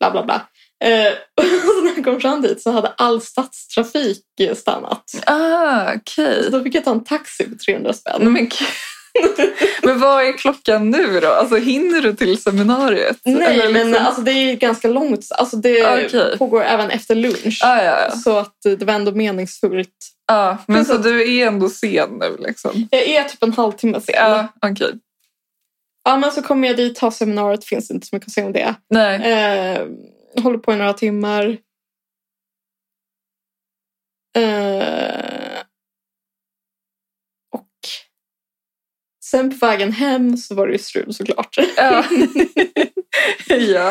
Speaker 3: bla bla bla. Eh, och så när jag kom fram dit så hade all stadstrafik stannat.
Speaker 2: ah, okej.
Speaker 3: Så då fick jag ta en taxi för 300
Speaker 2: Nej,
Speaker 3: spänn.
Speaker 2: Men, gud. men vad är klockan nu då? Alltså hinner du till seminariet? Eller
Speaker 3: Nej,
Speaker 2: liksom-
Speaker 3: men alltså, det är ganska långt. Alltså, det
Speaker 2: Okej.
Speaker 3: pågår även efter lunch.
Speaker 2: Ah, ja, ja.
Speaker 3: Så att det var ändå meningsfullt
Speaker 2: Ah, men så
Speaker 3: Precis.
Speaker 2: du är ändå sen nu liksom?
Speaker 3: Jag är typ en halvtimme sen.
Speaker 2: Ja,
Speaker 3: Mm.
Speaker 2: okej.
Speaker 3: Ja, men så kommer jag dit, tar seminariet, finns inte så mycket att säga om det.
Speaker 2: Nej.
Speaker 3: Eh, håller på i några timmar. Eh, och sen på vägen hem så var det ju strul såklart.
Speaker 2: Ja. ja.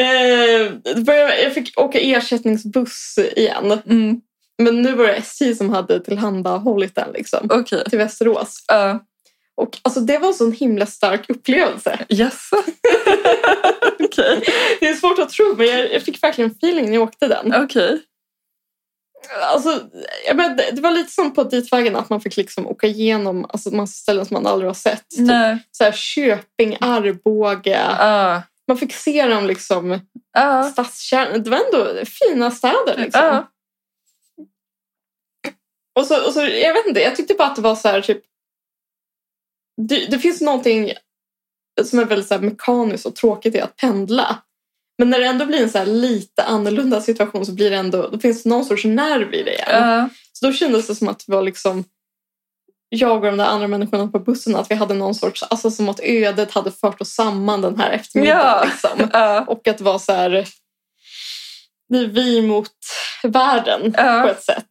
Speaker 3: Eh, det började- jag fick åka ersättningsbuss igen.
Speaker 2: Mm,
Speaker 3: Men nu var det SJ som hade tillhandahållit den liksom,
Speaker 2: okej.
Speaker 3: till Västerås.
Speaker 2: Ja.
Speaker 3: Och alltså, det var en sån himla stark upplevelse.
Speaker 2: Jaså? Okej.
Speaker 3: Det är svårt att tro, men jag, jag fick verkligen feeling när jag åkte den.
Speaker 2: Okej.
Speaker 3: Alltså, jag men, det, det var lite som på ditvägen att man fick liksom åka igenom alltså, massa ställen som man aldrig har sett. Typ,
Speaker 2: Nej.
Speaker 3: så här, Köping, Arboga.
Speaker 2: Ja.
Speaker 3: Man fick se dem liksom,
Speaker 2: Ja.
Speaker 3: stadskärnan. Det var ändå fina städer. Liksom.
Speaker 2: Ja.
Speaker 3: Och så, och så, jag vet inte, jag tyckte bara att det var så här typ... Det, det finns någonting som är väldigt så här mekaniskt och tråkigt i att pendla. Men när det ändå blir en så här lite annorlunda situation så blir det ändå, då finns det någon sorts nerv i det igen.
Speaker 2: Ja.
Speaker 3: Så då kändes det som att det var liksom jag och de där andra människorna på bussen, att vi hade någon sorts, alltså som att ödet hade fört oss samman den här eftermiddagen.
Speaker 2: Ja.
Speaker 3: Liksom.
Speaker 2: Ja.
Speaker 3: Och att det var så här, det är vi mot världen på
Speaker 2: Ja.
Speaker 3: ett sätt.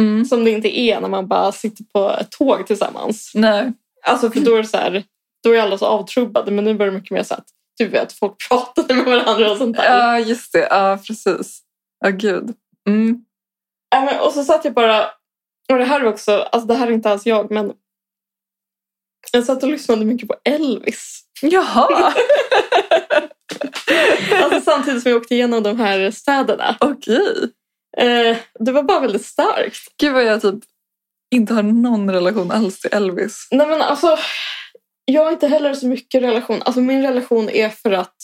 Speaker 2: Mm.
Speaker 3: Som det inte är när man bara sitter på ett tåg tillsammans.
Speaker 2: Nej.
Speaker 3: Alltså för då är det så här, då är alla så avtrubbade men nu var det mycket mer så att du vet, folk pratade med varandra och sånt där.
Speaker 2: Ja, just det. Ja, precis. Ja, gud. Mm.
Speaker 3: Ja, Äh, men- Och så satt jag bara, och det här är också, alltså det här är inte alls jag men jag satt och lyssnade mycket på Elvis.
Speaker 2: Jaha,
Speaker 3: Alltså samtidigt som jag åkte igenom de här städerna.
Speaker 2: okej.
Speaker 3: Eh, det var bara väldigt starkt.
Speaker 2: Gud vad jag typ inte har någon relation alls till Elvis.
Speaker 3: Nej men alltså, jag har inte heller så mycket relation. Alltså min relation är för att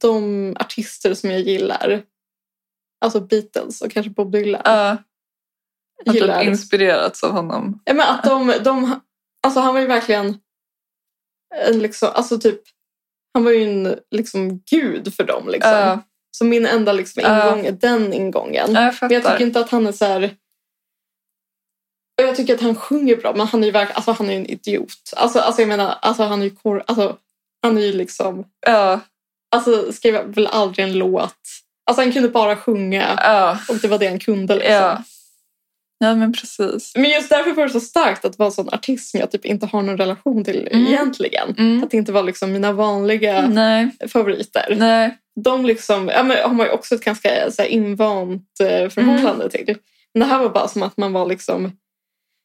Speaker 3: de artister som jag gillar, alltså Beatles och kanske Bob Dylan,
Speaker 2: Ja, jag har
Speaker 3: gillar.
Speaker 2: typ inspirerats av honom.
Speaker 3: Ja, men att de, de, alltså han var ju verkligen en liksom, alltså typ, han var ju en liksom gud för dem liksom.
Speaker 2: Ja,
Speaker 3: Så min enda liksom
Speaker 2: Ja.
Speaker 3: ingång är den
Speaker 2: jag
Speaker 3: ingången. Men jag tycker
Speaker 2: fattar.
Speaker 3: inte att han är så här... Och Jag tycker att han sjunger bra, men han är ju verk... alltså, han är ju en idiot. Alltså, alltså jag menar, alltså, han är ju kor... alltså, han är ju liksom...
Speaker 2: Ja,
Speaker 3: Alltså skrev väl aldrig en låt. Alltså han kunde bara sjunga
Speaker 2: ja,
Speaker 3: och det var det han kunde liksom.
Speaker 2: ja. Ja, men precis.
Speaker 3: Men just därför var det så starkt att vara en sån artist som jag typ inte har någon relation till
Speaker 2: Mm.
Speaker 3: egentligen.
Speaker 2: Mm.
Speaker 3: Att det inte var liksom mina vanliga
Speaker 2: Nej,
Speaker 3: favoriter.
Speaker 2: nej.
Speaker 3: de liksom, ja, men har man ju också ett ganska eh, så här, invant eh, förhållande
Speaker 2: Mm.
Speaker 3: till. Men det här var bara som att man var liksom,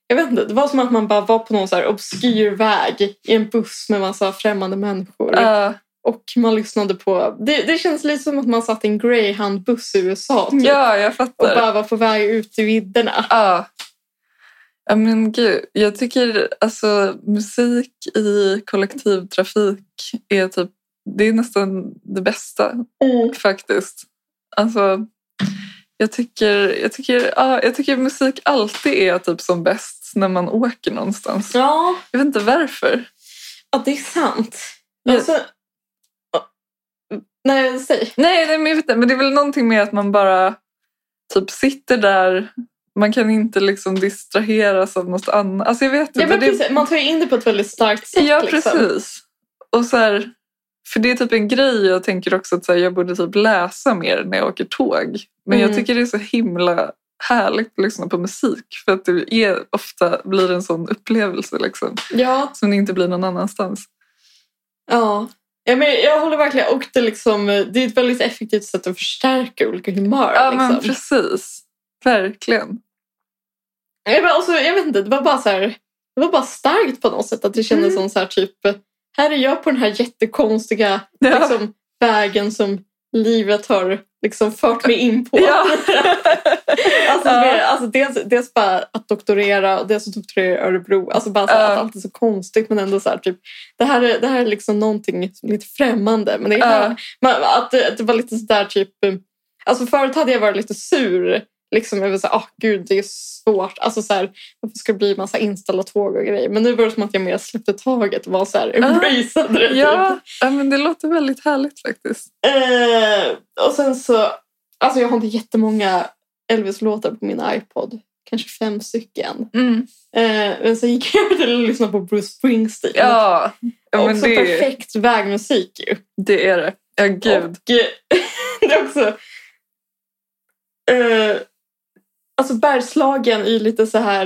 Speaker 3: jag vet inte, det var som att man bara var på någon så här obskyr väg i en buss med massa främmande människor.
Speaker 2: Ja,
Speaker 3: Och man lyssnade på, det, det känns lite som att man satt i en greyhound-buss i USA typ,
Speaker 2: ja jag
Speaker 3: och
Speaker 2: fattar.
Speaker 3: bara var på väg ut i vidderna.
Speaker 2: Ja. Ja men gud, jag tycker alltså musik i kollektivtrafik är typ, det är nästan det bästa faktiskt. Alltså, jag tycker, jag, tycker, ja, jag tycker musik alltid är typ som bäst när man åker någonstans.
Speaker 3: Ja,
Speaker 2: Jag vet inte varför.
Speaker 3: ja, det är sant.
Speaker 2: Ja.
Speaker 3: Alltså, Nej, säg.
Speaker 2: Nej, nej men, jag vet inte, men det är väl någonting med att man bara typ sitter där. Man kan inte liksom distraheras av något annat. Alltså jag vet inte.
Speaker 3: Ja, men
Speaker 2: det-
Speaker 3: precis, man tar ju in det på ett väldigt starkt sätt.
Speaker 2: Ja,
Speaker 3: Liksom.
Speaker 2: precis. Och så här, för det är typ en grej jag tänker också att så här, jag borde typ läsa mer när jag åker tåg. Men jag
Speaker 3: Mm.
Speaker 2: tycker det är så himla härligt att lyssna på musik för att det är, ofta blir en sån upplevelse liksom,
Speaker 3: Ja,
Speaker 2: som det inte blir någon annanstans.
Speaker 3: ja. ja men jag håller verkligen. Och det, liksom, det är ett väldigt effektivt sätt att förstärka olika humör.
Speaker 2: Ja,
Speaker 3: liksom.
Speaker 2: men precis. Verkligen.
Speaker 3: Jag, bara, alltså, jag vet inte, det var bara så här, det var bara starkt på något sätt att det kändes
Speaker 2: Mm.
Speaker 3: som så här typ, här är jag på den här jättekonstiga
Speaker 2: Ja.
Speaker 3: liksom, vägen som livet har liksom fört mig in på.
Speaker 2: Ja.
Speaker 3: alltså,
Speaker 2: Ja.
Speaker 3: mer, alltså, dels, dels bara att doktorera och dels att doktorera i Örebro. Alltså bara så här,
Speaker 2: Ja.
Speaker 3: att allt är så konstigt men ändå så här typ, det här är, det här är liksom någonting som är lite främmande. Men det är
Speaker 2: Ja.
Speaker 3: men att, det- att det var lite sådär typ... eh, Alltså förut hade jag varit lite sur. Liksom, jag var såhär, ah gud det är svårt. Alltså såhär, varför ska det bli massa inställda tåg och grejer? Men nu var det som att jag mer släppte taget och var såhär, embraceade det. typ.
Speaker 2: Ja, ja, men det låter väldigt härligt faktiskt.
Speaker 3: Eh, och sen så, alltså jag har inte jättemånga Elvis-låtar på min iPod. Kanske fem stycken.
Speaker 2: Mm.
Speaker 3: Eh, men sen gick jag över till att lyssna på Bruce Springsteen.
Speaker 2: Ja, ja men
Speaker 3: Också
Speaker 2: det,
Speaker 3: perfekt vägmusik ju.
Speaker 2: det är det. Ja, gud.
Speaker 3: Och eh, det är också... Eh, alltså Bergslagen är ju lite så här...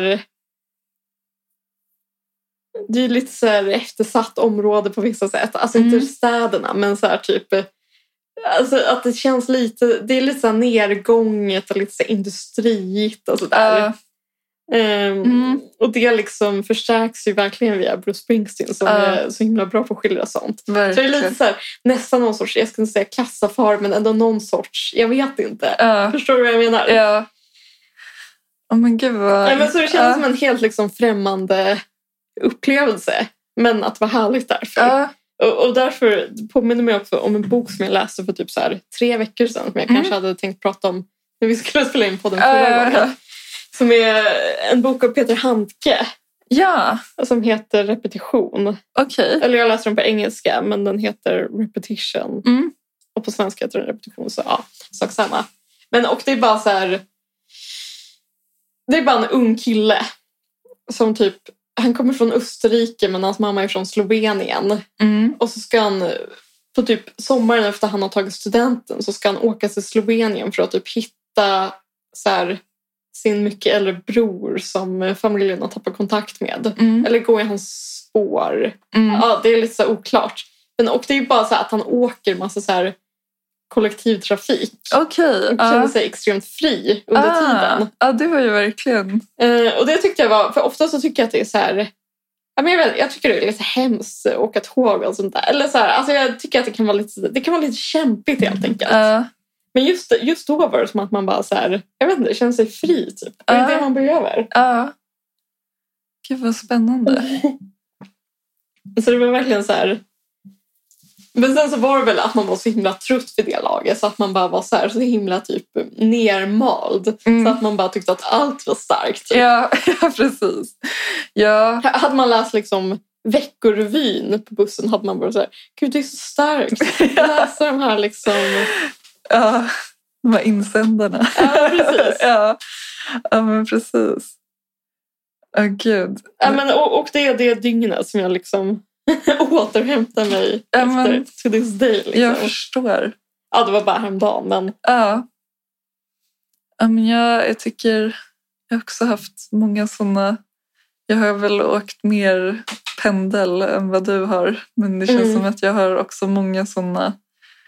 Speaker 3: Det är ju lite så här eftersatt område på vissa sätt. Alltså
Speaker 2: Mm.
Speaker 3: inte städerna, men så här typ... eh, Alltså att det känns lite... Det är lite så här nedgånget och lite så här industriigt och sådär.
Speaker 2: Ja,
Speaker 3: Ehm,
Speaker 2: Mm.
Speaker 3: Och det liksom förstärks ju verkligen via Bruce Springsteen som
Speaker 2: Ja.
Speaker 3: är så himla bra på att skildra sånt. Så det är
Speaker 2: verkligen.
Speaker 3: lite så här, nästan någon sorts, jag skulle inte säga kassafar, men ändå någon sorts, jag vet inte.
Speaker 2: Ja.
Speaker 3: Förstår du vad jag menar?
Speaker 2: Ja. Åh men gud vad...
Speaker 3: Nej, men så det känns
Speaker 2: ja.
Speaker 3: som en helt liksom främmande upplevelse. Men att vara härligt därför.
Speaker 2: Ja,
Speaker 3: Och, och därför påminner mig också om en bok som jag läste för typ så här, tre veckor sedan. Som jag
Speaker 2: Mm.
Speaker 3: kanske hade tänkt prata om när vi skulle spela in på den förra
Speaker 2: ja,
Speaker 3: gången.
Speaker 2: ja.
Speaker 3: Som är en bok av Peter Handke.
Speaker 2: ja
Speaker 3: Som heter Repetition.
Speaker 2: okej.
Speaker 3: Eller jag läser den på engelska men den heter Repetition.
Speaker 2: Mm.
Speaker 3: Och på svenska heter den repetition, så ja, sak samma. Men och det är bara så här... Det är bara en ung kille som typ... Han kommer från Österrike men hans mamma är från Slovenien.
Speaker 2: Mm.
Speaker 3: Och så ska han på typ sommaren efter han har tagit studenten så ska han åka till Slovenien för att typ hitta så här, sin mycket äldre bror som familjen har tappat kontakt med.
Speaker 2: Mm.
Speaker 3: Eller gå i hans spår.
Speaker 2: Mm.
Speaker 3: Ja, det är lite så här oklart. Men, och det är ju bara så här att han åker massa så här kollektivtrafik.
Speaker 2: Okej.
Speaker 3: Och känner
Speaker 2: Ja.
Speaker 3: sig extremt fri under
Speaker 2: Ah.
Speaker 3: tiden.
Speaker 2: Ja, det var ju verkligen...
Speaker 3: Eh, och det tyckte jag var, för ofta så tycker jag att det är så här, ja, men jag, vet, jag tycker det är lite hemskt att åka tåg och sånt där. Eller så här, alltså jag tycker att det kan vara lite, det kan vara lite kämpigt helt enkelt.
Speaker 2: Ja.
Speaker 3: Men just, just då var det som att man bara så här, jag vet inte, känner sig fri typ. Det är
Speaker 2: Ah.
Speaker 3: det man behöver.
Speaker 2: Ja. Gud vad spännande.
Speaker 3: Så det var verkligen så här. Men sen så var det väl att man var så himla trött vid det laget så att man bara var så här så himla typ nermald. Så
Speaker 2: Mm.
Speaker 3: att man bara tyckte att allt var starkt. Typ.
Speaker 2: Ja, ja, precis. Ja.
Speaker 3: H- Hade man läst liksom veckorevyn på bussen hade man bara så här, gud det är så starkt. Läsa de här liksom.
Speaker 2: ja. De här insändarna.
Speaker 3: Ja, precis.
Speaker 2: ja. ja, men precis. Åh gud.
Speaker 3: Ja, men, och, och det är det dygnet som jag liksom återhämtar mig
Speaker 2: Ja,
Speaker 3: efter
Speaker 2: men-
Speaker 3: to this day. Liksom.
Speaker 2: Jag förstår.
Speaker 3: Ja, det var bara häromdagen men
Speaker 2: Ja. ja men jag, jag tycker jag har också haft många sådana. Jag har väl åkt mer pendel än vad du har. Men det känns
Speaker 3: Mm.
Speaker 2: som att jag har också många sådana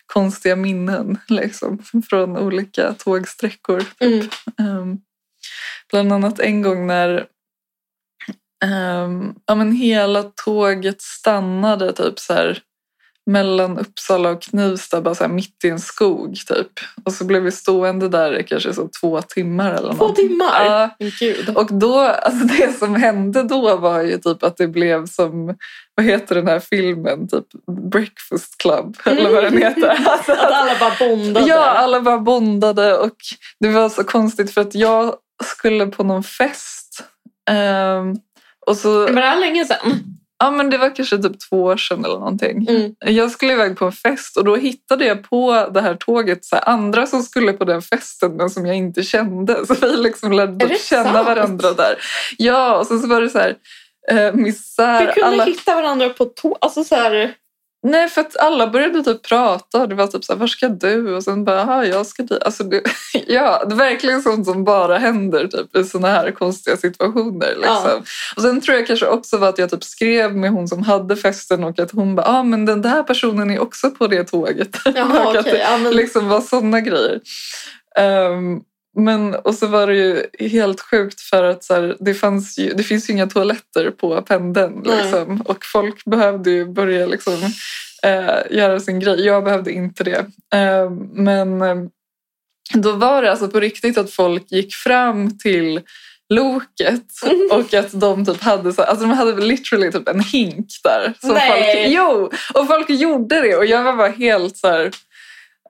Speaker 2: konstiga minnen liksom, från olika tågsträckor.
Speaker 3: mm,
Speaker 2: Ehm, bland annat en gång när ehm, ja, men hela tåget stannade typ så här mellan Uppsala och Knivsta, bara så här mitt i en skog typ. Och så blev vi stående där i kanske så två timmar eller
Speaker 3: två
Speaker 2: någonting.
Speaker 3: timmar.
Speaker 2: Ja,
Speaker 3: Men gud.
Speaker 2: och då, alltså det som hände då var ju typ att det blev som, vad heter den här filmen, typ Breakfast Club eller vad den heter. Alltså,
Speaker 3: Mm. Att alla bara bondade.
Speaker 2: Ja, alltså. alla bara bondade och det var så konstigt för att jag skulle på någon fest. ehm, och så,
Speaker 3: Men Var det här länge sedan?
Speaker 2: Ja, men det var kanske typ två år sedan eller någonting.
Speaker 3: Mm.
Speaker 2: Jag skulle iväg på en fest och då hittade jag på det här tåget så här, andra som skulle på den festen men som jag inte kände. Så vi liksom lärde
Speaker 3: Är det
Speaker 2: typ känna
Speaker 3: sant?
Speaker 2: varandra där. Ja, och sen så var det så här eh,
Speaker 3: Vi
Speaker 2: misär.
Speaker 3: kunde
Speaker 2: Alla...
Speaker 3: hitta varandra på tå... Alltså så här...
Speaker 2: Nej, för att alla började typ prata. Det var typ så här, var ska du? Och sen bara, "Aha, jag ska dit. Alltså, det... ja, det är verkligen sånt som bara händer typ, i såna här konstiga situationer. Liksom.
Speaker 3: Ja.
Speaker 2: Och sen tror jag kanske också var att jag typ skrev med hon som hade festen och att hon bara, ah, men den där personen är också på det tåget.
Speaker 3: Jaha,
Speaker 2: Och
Speaker 3: okej.
Speaker 2: att det
Speaker 3: Ja, men...
Speaker 2: liksom var sådana grejer. Ehm, men, och så var det ju helt sjukt för att så här, det, fanns ju, det finns ju inga toaletter på pendeln.
Speaker 3: Nej.
Speaker 2: Liksom, och folk behövde ju börja liksom, eh, göra sin grej. Jag behövde inte det. Ehm, men eh, då var det alltså på riktigt att folk gick fram till loket
Speaker 3: Mm.
Speaker 2: och att de typ hade så alltså de hade väl literally typ en hink där. Som
Speaker 3: Nej.
Speaker 2: folk, jo! Och folk gjorde det och jag var bara helt så här,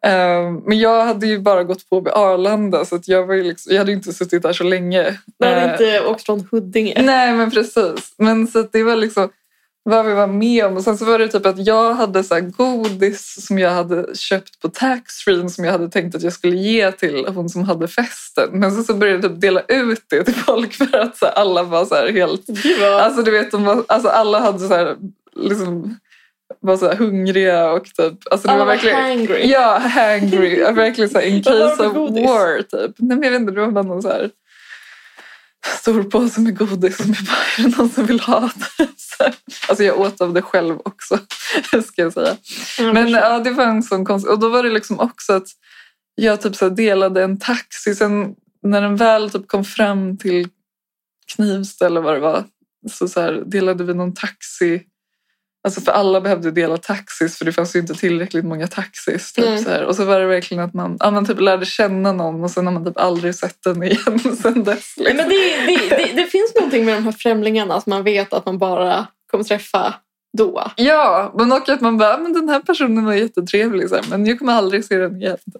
Speaker 2: Ehm, men jag hade ju bara gått på vid Arlanda så att jag, var ju liksom, jag hade ju inte suttit där så länge.
Speaker 3: Man hade
Speaker 2: Eh, Mm.
Speaker 3: inte åkt från Huddinge.
Speaker 2: Nej, men precis. Men så att det var liksom vad vi var med om. Och sen så var det typ att jag hade så här godis som jag hade köpt på taxfree som jag hade tänkt att jag skulle ge till hon som hade festen. Men sen så började jag typ dela ut det till folk för att så här, alla var så här helt
Speaker 3: Gud vad...
Speaker 2: Alltså du vet, de var, alltså, alla hade så här, liksom, var så här hungriga och typ... Alltså, det
Speaker 3: Alla
Speaker 2: var
Speaker 3: var
Speaker 2: verkligen,
Speaker 3: hangry.
Speaker 2: Ja, hangry. Ja, verkligen så här, in
Speaker 3: Vad var det
Speaker 2: case
Speaker 3: för
Speaker 2: of
Speaker 3: godis?
Speaker 2: war typ. Nej men jag vet inte, det var bara någon så här stor påse med godis som jag bara, är det någon som vill ha? Så här. alltså jag åt av det själv också, ska jag säga.
Speaker 3: Ja,
Speaker 2: Men ja, det var en sån konstig... Och då var det liksom också att jag typ så här delade en taxi. Sen när den väl typ kom fram till Knivsta eller vad det var så, så här, delade vi någon taxi. Alltså för alla behövde dela taxis för det fanns ju inte tillräckligt många taxis. Typ,
Speaker 3: Nej.
Speaker 2: så här. Och så var det verkligen att man, ja, man typ lärde känna någon och sen har man typ aldrig sett den igen sen dess.
Speaker 3: Nej,
Speaker 2: Liksom.
Speaker 3: men det, det, det, det finns någonting med de här främlingarna att man vet att man bara kommer träffa då.
Speaker 2: Ja, men och att man bara, men den här personen var jättetrevlig så här, men jag kommer aldrig se den igen.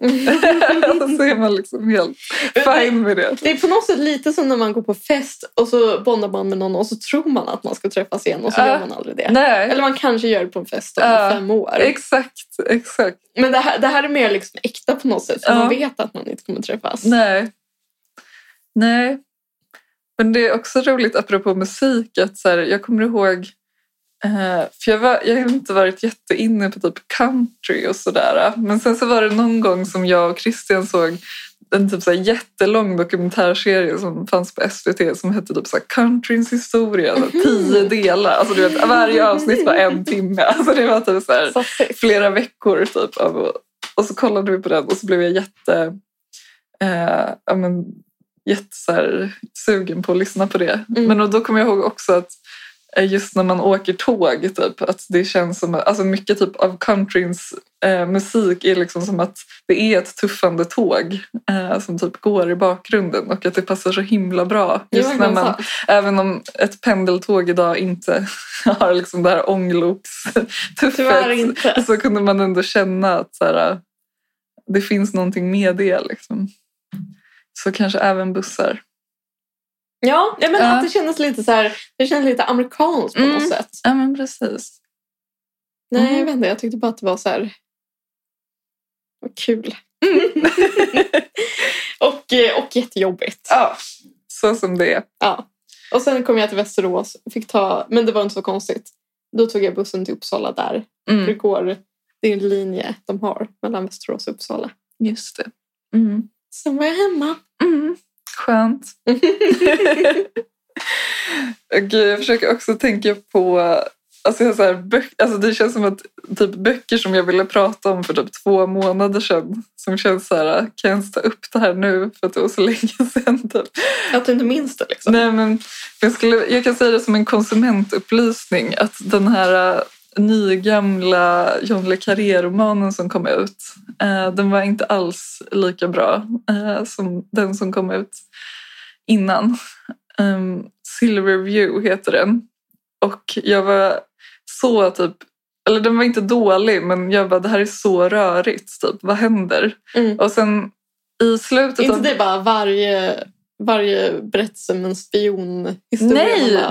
Speaker 2: så är man liksom helt fine med det.
Speaker 3: Det är på något sätt lite som när man går på fest och så bondar man med någon och så tror man att man ska träffas igen och så
Speaker 2: Ja.
Speaker 3: gör man aldrig det.
Speaker 2: Nej,
Speaker 3: Eller man kanske gör det på en fest om
Speaker 2: Ja.
Speaker 3: fem år.
Speaker 2: exakt, exakt.
Speaker 3: Men det här, det här är mer liksom äkta på något sätt. För
Speaker 2: Ja.
Speaker 3: man vet att man inte kommer träffas.
Speaker 2: Nej. Nej. Men det är också roligt apropå musik att så här, jag kommer ihåg eh, för jag, var, jag har inte varit jätteinne på typ country och sådär. Men sen så var det någon gång som jag och Christian såg en typ så här jättelång dokumentärserie som fanns på SVT som hette typ så här Countryns historia. Så här, tio delar. Alltså du vet, varje avsnitt var en timme. Alltså det var typ så här,
Speaker 3: Sassigt.
Speaker 2: flera veckor typ. Av, och så kollade vi på den och så blev jag jätte, eh, ja, men, jätte så här, sugen på att lyssna på det.
Speaker 3: Mm.
Speaker 2: Men och då kommer jag ihåg också att eh, just när man åker tåg, typ, att det känns som att alltså mycket typ av countryns eh, musik är liksom som att det är ett tuffande tåg eh, som typ går i bakgrunden och att det passar så himla bra.
Speaker 3: Det
Speaker 2: Just
Speaker 3: var
Speaker 2: när
Speaker 3: verkligen
Speaker 2: man,
Speaker 3: sant.
Speaker 2: även om ett pendeltåg idag inte har liksom det här
Speaker 3: Tyvärr
Speaker 2: ångloks-tuffet
Speaker 3: inte.
Speaker 2: så kunde man ändå känna att så här, det finns någonting med det. Liksom. Så kanske även bussar.
Speaker 3: Ja, nej, men
Speaker 2: Ja.
Speaker 3: att det kändes lite så här, det kändes lite amerikanskt på
Speaker 2: Mm.
Speaker 3: något sätt.
Speaker 2: Ja, men precis.
Speaker 3: Nej,
Speaker 2: Mm.
Speaker 3: jag vet inte. Jag tyckte bara att det var så här... Vad kul.
Speaker 2: Mm.
Speaker 3: och, eh, och jättejobbigt.
Speaker 2: Ja. Så som det är.
Speaker 3: Ja. Och sen kom jag till Västerås. Fick ta, men det var inte så konstigt. Då tog jag bussen till Uppsala där. Det,
Speaker 2: Mm.
Speaker 3: går, det är en linje de har mellan Västerås och Uppsala.
Speaker 2: Just det. Mm.
Speaker 3: Sen var jag hemma.
Speaker 2: Mm. Skönt. Och jag försöker också tänka på... Alltså jag har så här, böcker, alltså det känns som att typ böcker som jag ville prata om för typ två månader sedan som känns så här, kan jag ens ta upp det här nu för att det var så länge sedan? Typ.
Speaker 3: att du inte minns det liksom.
Speaker 2: Nej, men jag, skulle, jag kan säga det som en konsumentupplysning att den här eh, nygamla John le Carré-romanen som kom ut eh, den var inte alls lika bra eh, som den som kom ut innan. Um, Silver View heter den. Och jag var så typ... Eller den var inte dålig, men jag bara det här är så rörigt. Typ. Vad händer?
Speaker 3: Mm.
Speaker 2: Och sen i slutet
Speaker 3: Inte
Speaker 2: av...
Speaker 3: det bara varje varje berättelse med en spionhistoria.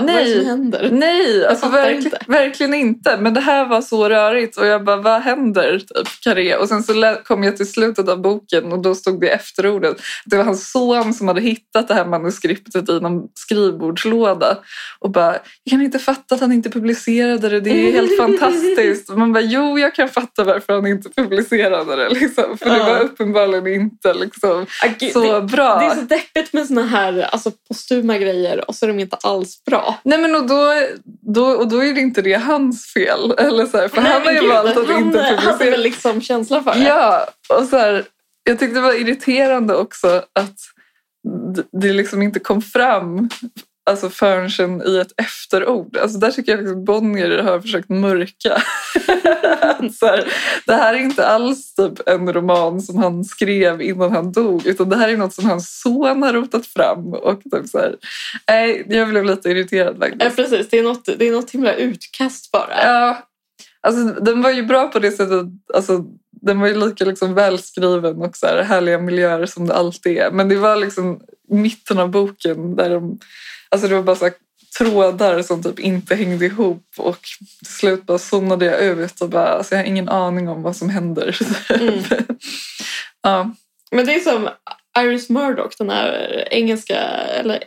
Speaker 2: Nej,
Speaker 3: Man bara, Vad är det
Speaker 2: nej.
Speaker 3: som händer?
Speaker 2: Nej, alltså
Speaker 3: fattar
Speaker 2: verkl-
Speaker 3: inte.
Speaker 2: verkligen inte. Men det här var så rörigt och jag bara, vad händer? Typ, karré. Och sen så lä- kom jag till slutet av boken och då stod det i efterordet att det var hans son som hade hittat det här manuskriptet i någon skrivbordslåda och bara, jag kan inte fatta att han inte publicerade det. Det är ju helt fantastiskt. Man bara, jo, jag kan fatta varför han inte publicerade det. Liksom. För det
Speaker 3: Ja.
Speaker 2: var uppenbarligen inte liksom,
Speaker 3: Ah, gud,
Speaker 2: så
Speaker 3: det,
Speaker 2: bra.
Speaker 3: det är så deppigt med såna här alltså, postuma grejer och så är de inte alls bra.
Speaker 2: Nej men och då, då, och då är det inte det hans fel. Eller så här, för han har
Speaker 3: men
Speaker 2: ju
Speaker 3: gud,
Speaker 2: valt att
Speaker 3: han
Speaker 2: inte
Speaker 3: hade väl
Speaker 2: publicera.
Speaker 3: liksom känsla för det.
Speaker 2: Ja, och så här, jag tyckte det var irriterande också att d- det liksom inte kom fram alltså förrän sen i ett efterord. Alltså där tycker jag att Bonnier har försökt mörka. Att så här, det här är inte alls typ en roman som han skrev innan han dog utan det här är något som hans son har rotat fram. Och typ så här, nej, jag blev lite irriterad faktiskt.
Speaker 3: Ja, Eh, precis. Det är, något, det är något himla utkast bara.
Speaker 2: Ja, alltså den var ju bra på det sättet. Alltså, den var ju lika liksom välskriven och så här härliga miljöer som det alltid är. Men det var liksom mitten av boken där de, alltså det var bara så här trådar som typ inte hängde ihop och till slut bara zonade jag ut och bara, alltså jag har ingen aning om vad som händer.
Speaker 3: Mm.
Speaker 2: ja.
Speaker 3: Men det är som Iris Murdoch, den här engelska eller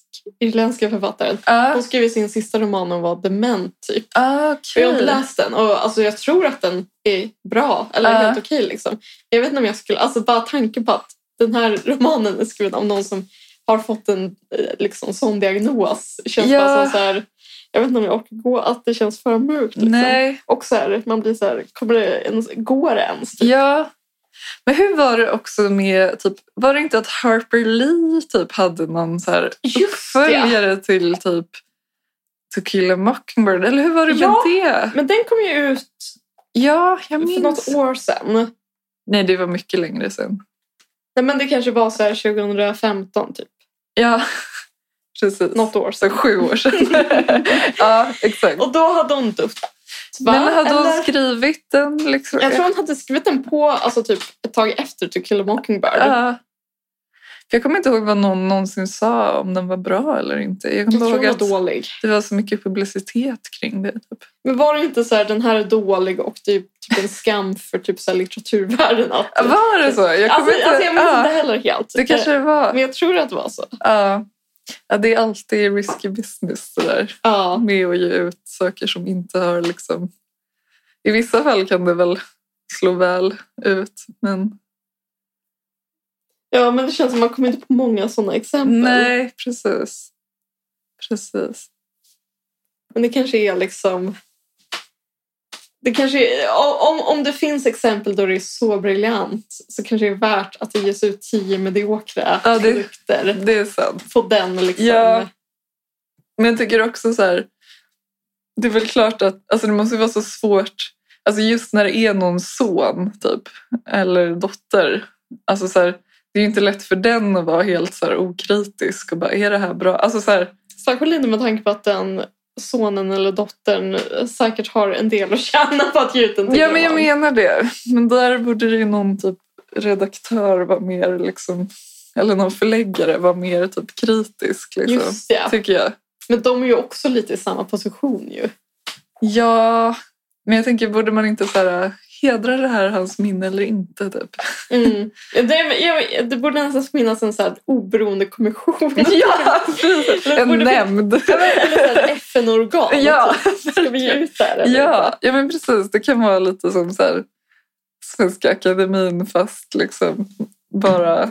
Speaker 3: engelsk-irländska författaren.
Speaker 2: Ah,
Speaker 3: Hon skrev ju sin sista roman om var dement typ.
Speaker 2: ah,
Speaker 3: Och jag
Speaker 2: kul.
Speaker 3: har inte läst den och alltså, jag tror att den är bra eller
Speaker 2: Ja.
Speaker 3: helt okej. liksom. Jag vet inte om jag skulle, alltså bara tanken på att den här romanen är skriven av någon som har fått en eh, liksom, sån diagnos känns
Speaker 2: Ja.
Speaker 3: bara som så här, jag vet inte om jag orkar gå, att det känns för mörkt. Liksom.
Speaker 2: Nej,
Speaker 3: Och så här, man blir så här, kommer det ens, går det ens? Typ?
Speaker 2: ja. Men hur var det också med, typ, var det inte att Harper Lee typ hade någon så här
Speaker 3: Just det!
Speaker 2: uppföljare till typ To kill a mockingbird, eller hur var det med
Speaker 3: Ja.
Speaker 2: det?
Speaker 3: Men den kom ju ut
Speaker 2: Ja, jag
Speaker 3: för något
Speaker 2: minns.
Speaker 3: år sedan.
Speaker 2: Nej, det var mycket längre sedan.
Speaker 3: Nej, men det kanske var så här 2015 typ.
Speaker 2: Ja, precis.
Speaker 3: Något år sedan.
Speaker 2: Så sju år sedan. ja, exakt.
Speaker 3: Och då hade hon duft. Va?
Speaker 2: Men hade hon
Speaker 3: Eller?
Speaker 2: skrivit den? Liksom?
Speaker 3: Jag tror hon hade skrivit den på alltså, typ, ett tag efter To kill a mockingbird.
Speaker 2: Ja. För Jag kommer inte ihåg vad någon någonsin sa om den var bra eller inte. Jag
Speaker 3: jag
Speaker 2: kommer
Speaker 3: tror
Speaker 2: ihåg
Speaker 3: hon var
Speaker 2: att
Speaker 3: dålig.
Speaker 2: det var så mycket publicitet kring det. Typ.
Speaker 3: Men var det inte så här, den här är dålig och det är typ en skam för typ så här, litteraturvärlden? Att,
Speaker 2: Ja, Var det så? Jag kommer
Speaker 3: alltså,
Speaker 2: inte...
Speaker 3: alltså, jag minns
Speaker 2: ja,
Speaker 3: inte heller helt. Eh,
Speaker 2: det kanske det var.
Speaker 3: Men jag tror att det var så.
Speaker 2: Ja. ja, det är alltid risky business det där.
Speaker 3: Ja.
Speaker 2: med att ge ut saker som inte har liksom... I vissa fall kan det väl slå väl ut, men
Speaker 3: ja, men det känns som att man kommer inte på många sådana exempel.
Speaker 2: nej, precis. Precis.
Speaker 3: Men det kanske är liksom... Det kanske är, o- om, om det finns exempel då det är så briljant så kanske det är värt att det ges ut tio mediokra
Speaker 2: Ja, det-
Speaker 3: produkter
Speaker 2: Det är sant.
Speaker 3: på den. Liksom.
Speaker 2: Ja. Men jag tycker också så här... Det är väl klart att alltså det måste ju vara så svårt, alltså just när det är någon son typ, eller dotter. Alltså så här, det är ju inte lätt för den att vara helt så här okritisk och bara är det här bra? Alltså så här,
Speaker 3: Särskilt inte med tanke på att den sonen eller dottern säkert har en del att tjäna på att ge ut en till
Speaker 2: Ja, men jag
Speaker 3: roman.
Speaker 2: menar det. Men där borde det ju någon typ redaktör vara mer liksom, eller någon förläggare vara mer typ kritisk liksom.
Speaker 3: Just det.
Speaker 2: Tycker jag.
Speaker 3: Men de är ju också lite i samma position ju.
Speaker 2: Ja, men jag tänker borde man inte så här, hedra det här hans minne eller inte typ?
Speaker 3: Mm. Det, jag, det borde nästan finnas en så här oberoende kommission.
Speaker 2: Ja,
Speaker 3: Eller
Speaker 2: en
Speaker 3: borde vi-
Speaker 2: nämnd.
Speaker 3: Eller så här ett FN-organ.
Speaker 2: Ja,
Speaker 3: typ. Ska vi ge ut det här? eller
Speaker 2: ja, ja, men precis. Det kan vara lite som så här, Svenska Akademin fast liksom bara,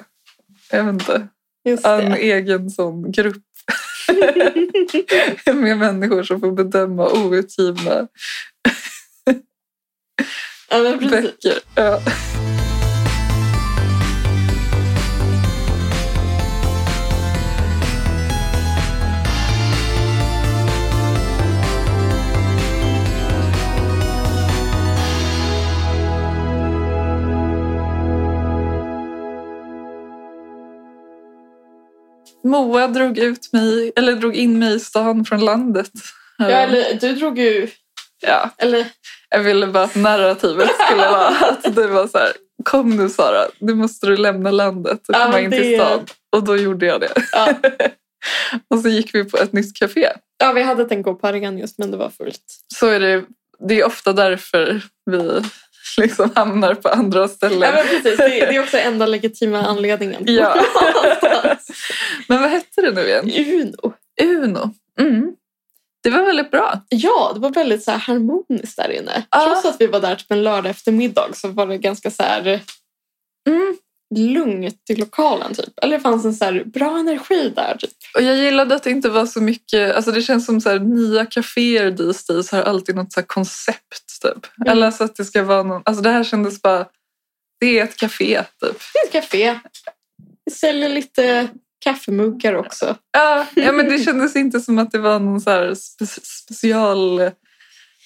Speaker 2: jag vet inte,
Speaker 3: inte? Just
Speaker 2: en
Speaker 3: det.
Speaker 2: egen sån grupp med människor som får bedöma outgivna
Speaker 3: Ja, men precis.
Speaker 2: böcker. Ja. Moa drog, ut mig, eller drog in mig i stan från landet.
Speaker 3: Ja, eller, du drog ju...
Speaker 2: ja.
Speaker 3: Eller,
Speaker 2: Jag ville bara att narrativet skulle vara att du var så här, kom nu Sara, nu måste du lämna landet och
Speaker 3: Ja,
Speaker 2: komma
Speaker 3: men
Speaker 2: in till
Speaker 3: det-
Speaker 2: stan. Och då gjorde jag det.
Speaker 3: Ja.
Speaker 2: och så gick vi på ett nytt café.
Speaker 3: Ja, vi hade tänkt gå på Arigan just men det var fullt.
Speaker 2: Så är det, det är ofta därför vi liksom hamnar på andra
Speaker 3: Ja,
Speaker 2: ställen.
Speaker 3: men precis. Det, det är också enda legitima anledningen.
Speaker 2: Ja. Men vad hette det nu igen?
Speaker 3: Uno.
Speaker 2: Uno. Mm. Det var väldigt bra.
Speaker 3: Ja, det var väldigt så här harmoniskt där inne.
Speaker 2: Ja.
Speaker 3: Trots att vi var där typ en lördag eftermiddag så var det ganska så här
Speaker 2: Mm.
Speaker 3: lugnt i lokalen. typ. Eller det fanns en så här bra energi där. Typ.
Speaker 2: Och jag gillade att det inte var så mycket, alltså det känns som så här, nya kaféer these days har alltid något så här koncept typ.
Speaker 3: Mm.
Speaker 2: Eller så att det ska vara någon, alltså det här kändes bara, det är ett café typ.
Speaker 3: Det är ett café. Vi säljer lite kaffemuggar också.
Speaker 2: Ja, ja men det kändes inte som att det var någon så här spe- special...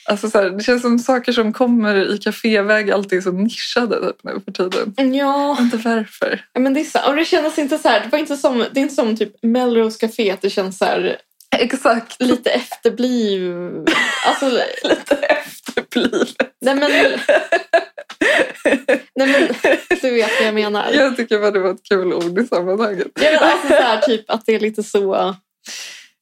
Speaker 2: Alltså så här, det känns som saker som kommer i kaféväg alltid är så nischade typ nu för tiden.
Speaker 3: Mm, Ja,
Speaker 2: Inte varför.
Speaker 3: Ja, men det, är så, och det kändes inte så här. Det, var inte som, det är inte som typ Melrose Café att det känns så här,
Speaker 2: Exakt.
Speaker 3: lite efterbliv. Alltså,
Speaker 2: Lite efterblivet.
Speaker 3: nej men... Nej men, du vet vad jag menar. Ja,
Speaker 2: Jag tycker bara det var ett kul ord i sammanhanget.
Speaker 3: men alltså så här, typ att det är lite så.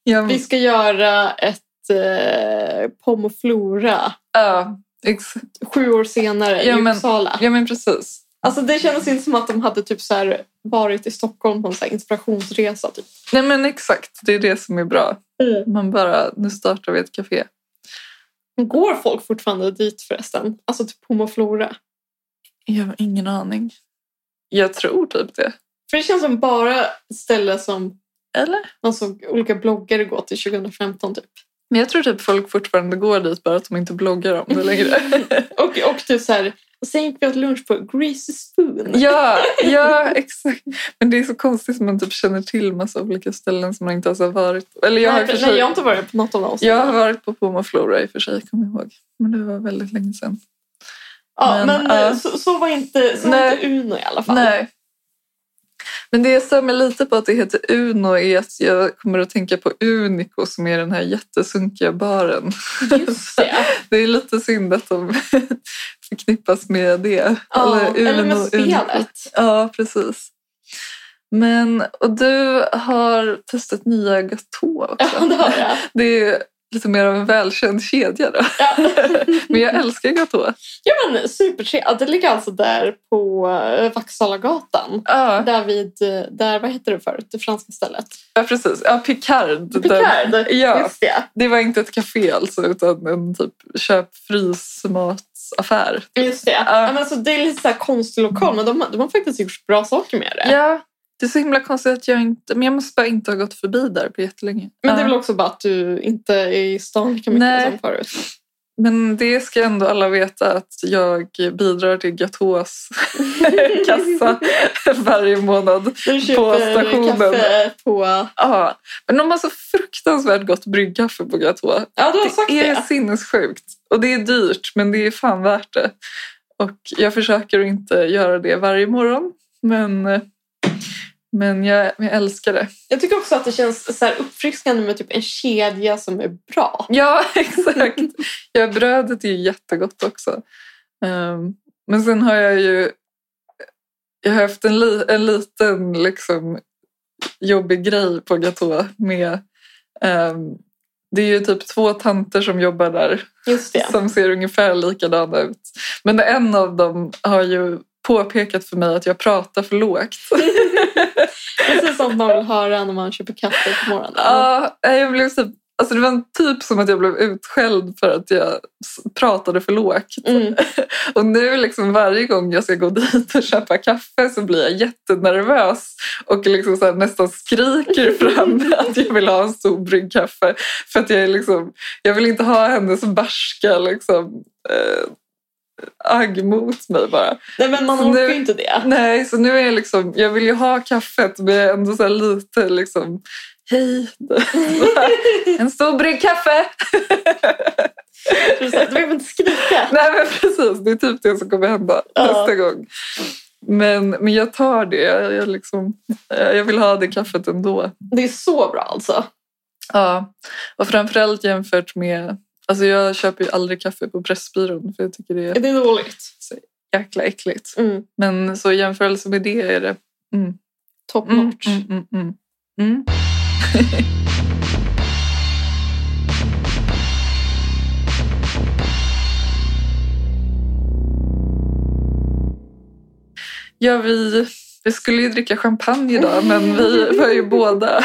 Speaker 2: Ja,
Speaker 3: Vi ska göra ett eh, Pom och Flora
Speaker 2: ja, ex-
Speaker 3: sju år senare
Speaker 2: Ja,
Speaker 3: i
Speaker 2: men-
Speaker 3: Uppsala.
Speaker 2: ja men precis.
Speaker 3: Alltså det kändes inte som att de hade typ så här, varit i Stockholm på en så här inspirationsresa. Typ.
Speaker 2: Nej men exakt, det är det som är bra. Man bara, nu startar vi ett café.
Speaker 3: Går folk fortfarande dit förresten? Alltså till Pom och Flora?
Speaker 2: Jag har ingen aning. Jag tror typ det.
Speaker 3: För det känns som bara ett ställe som
Speaker 2: Eller?
Speaker 3: man såg olika bloggare gå till 2015 typ.
Speaker 2: Men jag tror typ folk fortfarande går dit bara att de inte bloggar om det längre.
Speaker 3: Och, och typ så här, och sen gick vi åt lunch på Greasy Spoon.
Speaker 2: ja, ja, exakt. Men det är så konstigt att man typ känner till massa olika ställen som man inte ens har varit på. Eller jag har, i och
Speaker 3: nej,
Speaker 2: för
Speaker 3: nej,
Speaker 2: sig,
Speaker 3: jag har
Speaker 2: jag...
Speaker 3: inte varit på något av dem.
Speaker 2: har varit på Poma Flora i och för sig, kommer jag ihåg. Men det var väldigt länge sedan.
Speaker 3: ja,
Speaker 2: men,
Speaker 3: men eh,
Speaker 2: ja.
Speaker 3: så, så var inte, så var
Speaker 2: Nej.
Speaker 3: inte Uno i alla fall.
Speaker 2: Nej. Men det jag stör mig lite på att det heter Uno är att jag kommer att tänka på Unico som är den här jättesunkiga baren.
Speaker 3: Just det.
Speaker 2: Det är lite synd att de förknippas med det.
Speaker 3: Ja, eller,
Speaker 2: Uno,
Speaker 3: med spelet.
Speaker 2: Ja, precis. Men, och du har testat nya Gatå också.
Speaker 3: Ja, det har jag.
Speaker 2: Det är ju lite mer av en välkänd kedja då.
Speaker 3: Ja.
Speaker 2: Men jag älskar Gatå.
Speaker 3: ja, men supertrevligt. Ja, Det ligger alltså där på eh, Vaxhallagatan.
Speaker 2: Ja,
Speaker 3: Där vid, eh, där, vad heter det förut, det franska stället?
Speaker 2: ja, precis. Ja, Picard. Den-
Speaker 3: Picard.
Speaker 2: ja.
Speaker 3: Just det.
Speaker 2: det var inte ett café alltså, utan en typ köp-frys-matsaffär.
Speaker 3: Just det.
Speaker 2: Ja.
Speaker 3: Ja, men alltså, det är lite så här konstig lokal, men de, har- de har faktiskt gjort bra saker med det.
Speaker 2: Ja, det är så himla konstigt att jag inte... Men jag måste bara inte ha gått förbi där på jättelänge.
Speaker 3: Men det
Speaker 2: Ja.
Speaker 3: är väl också bara att du inte är i stan lika mycket
Speaker 2: Nej.
Speaker 3: som förut.
Speaker 2: Men det ska ändå alla veta att jag bidrar till Gatås kassa varje månad.
Speaker 3: Du köper
Speaker 2: stationen.
Speaker 3: kaffe på...
Speaker 2: Ja, men de har så fruktansvärt gott bryggkaffe på Gatå.
Speaker 3: Ja, du har sagt
Speaker 2: Det är
Speaker 3: det.
Speaker 2: sinnessjukt. Och det är dyrt, men det är fan värt det. Och jag försöker att inte göra det varje morgon, men, men jag, jag älskar det.
Speaker 3: Jag tycker också att det känns så här uppfriskande med typ en kedja som är bra.
Speaker 2: Ja, exakt. Ja, brödet är ju jättegott också. Ehm, men sen har jag ju jag har haft en, li, en liten liksom, jobbig grej på Gatå med ehm, det är ju typ två tanter som jobbar där
Speaker 3: Just det.
Speaker 2: som ser ungefär likadana ut. Men en av dem har ju påpekat för mig att jag pratar för lågt.
Speaker 3: Precis som man vill höra när man köper kaffe på morgonen.
Speaker 2: Ja, jag blev typ, alltså det var typ som att jag blev utskälld för att jag s- pratade för lågt.
Speaker 3: Mm.
Speaker 2: Och nu liksom varje gång jag ska gå dit och köpa kaffe så blir jag jättenervös och liksom så här nästan skriker fram att jag vill ha en stor bryggkaffe. För att jag, är liksom, jag vill inte ha hennes barska liksom, eh, agg mot mig bara.
Speaker 3: Nej, men man
Speaker 2: Så
Speaker 3: orkar
Speaker 2: nu-
Speaker 3: ju inte det.
Speaker 2: Nej, så nu är jag liksom, jag vill ju ha kaffet men jag är ändå så här lite liksom, hej, en stor bryggkaffe!
Speaker 3: Så det är så här, Du behöver inte skrika.
Speaker 2: Nej men precis, det är typ det som kommer hända
Speaker 3: Ja.
Speaker 2: nästa gång. Men, men jag tar det, jag, jag, liksom, eh, jag vill ha det kaffet ändå.
Speaker 3: Det är så bra alltså.
Speaker 2: Ja. Och framförallt jämfört med, alltså jag köper ju aldrig kaffe på Pressbyrån för jag tycker det är
Speaker 3: Det är dåligt.
Speaker 2: jäkla äckligt.
Speaker 3: Mm.
Speaker 2: Men så i jämförelse med det är det... Mm,
Speaker 3: Top
Speaker 2: mm,
Speaker 3: notch.
Speaker 2: mm, mm, mm. Mm. Ja, vi, vi skulle ju dricka champagne idag, men vi var ju båda,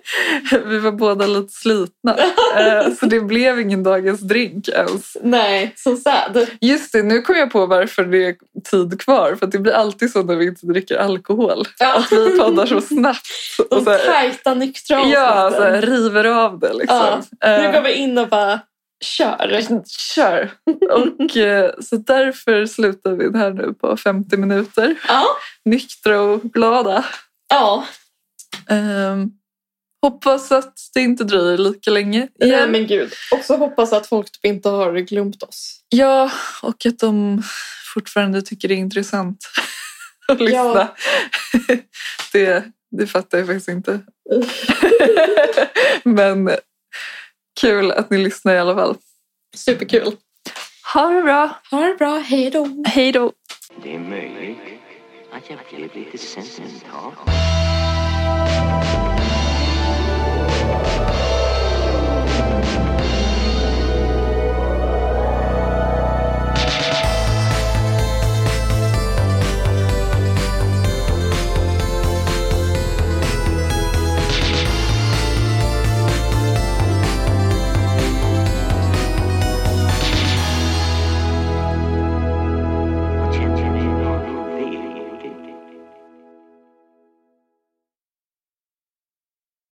Speaker 2: vi var båda lite slitna. Eh, Så det blev ingen dagens drink ens.
Speaker 3: Nej, så sad.
Speaker 2: Just det, nu kom jag på varför det är tid kvar. För att det blir alltid så när vi inte dricker alkohol.
Speaker 3: Ja.
Speaker 2: Att vi poddar så snabbt.
Speaker 3: De
Speaker 2: Och så här,
Speaker 3: tajta nyktra
Speaker 2: ja, så
Speaker 3: avsnitten.
Speaker 2: här, river av det liksom.
Speaker 3: Nu går
Speaker 2: Eh,
Speaker 3: vi in och bara kör.
Speaker 2: Kör! Och, eh, så därför slutar vi här nu på 50 minuter.
Speaker 3: Ja,
Speaker 2: Nyktra och glada.
Speaker 3: ja.
Speaker 2: Ehm, hoppas att det inte dröjer lika länge.
Speaker 3: Nej
Speaker 2: igen.
Speaker 3: men gud. Och så hoppas att folk typ inte har glömt oss.
Speaker 2: Ja, och att de fortfarande tycker det är intressant att lyssna.
Speaker 3: Ja.
Speaker 2: Det, det fattar jag faktiskt inte. Men kul att ni lyssnar i alla fall.
Speaker 3: Superkul.
Speaker 2: Ha det bra!
Speaker 3: Ha det bra, hej då.
Speaker 2: Hej då!
Speaker 1: Det är möjligt att jag blev lite sentimental.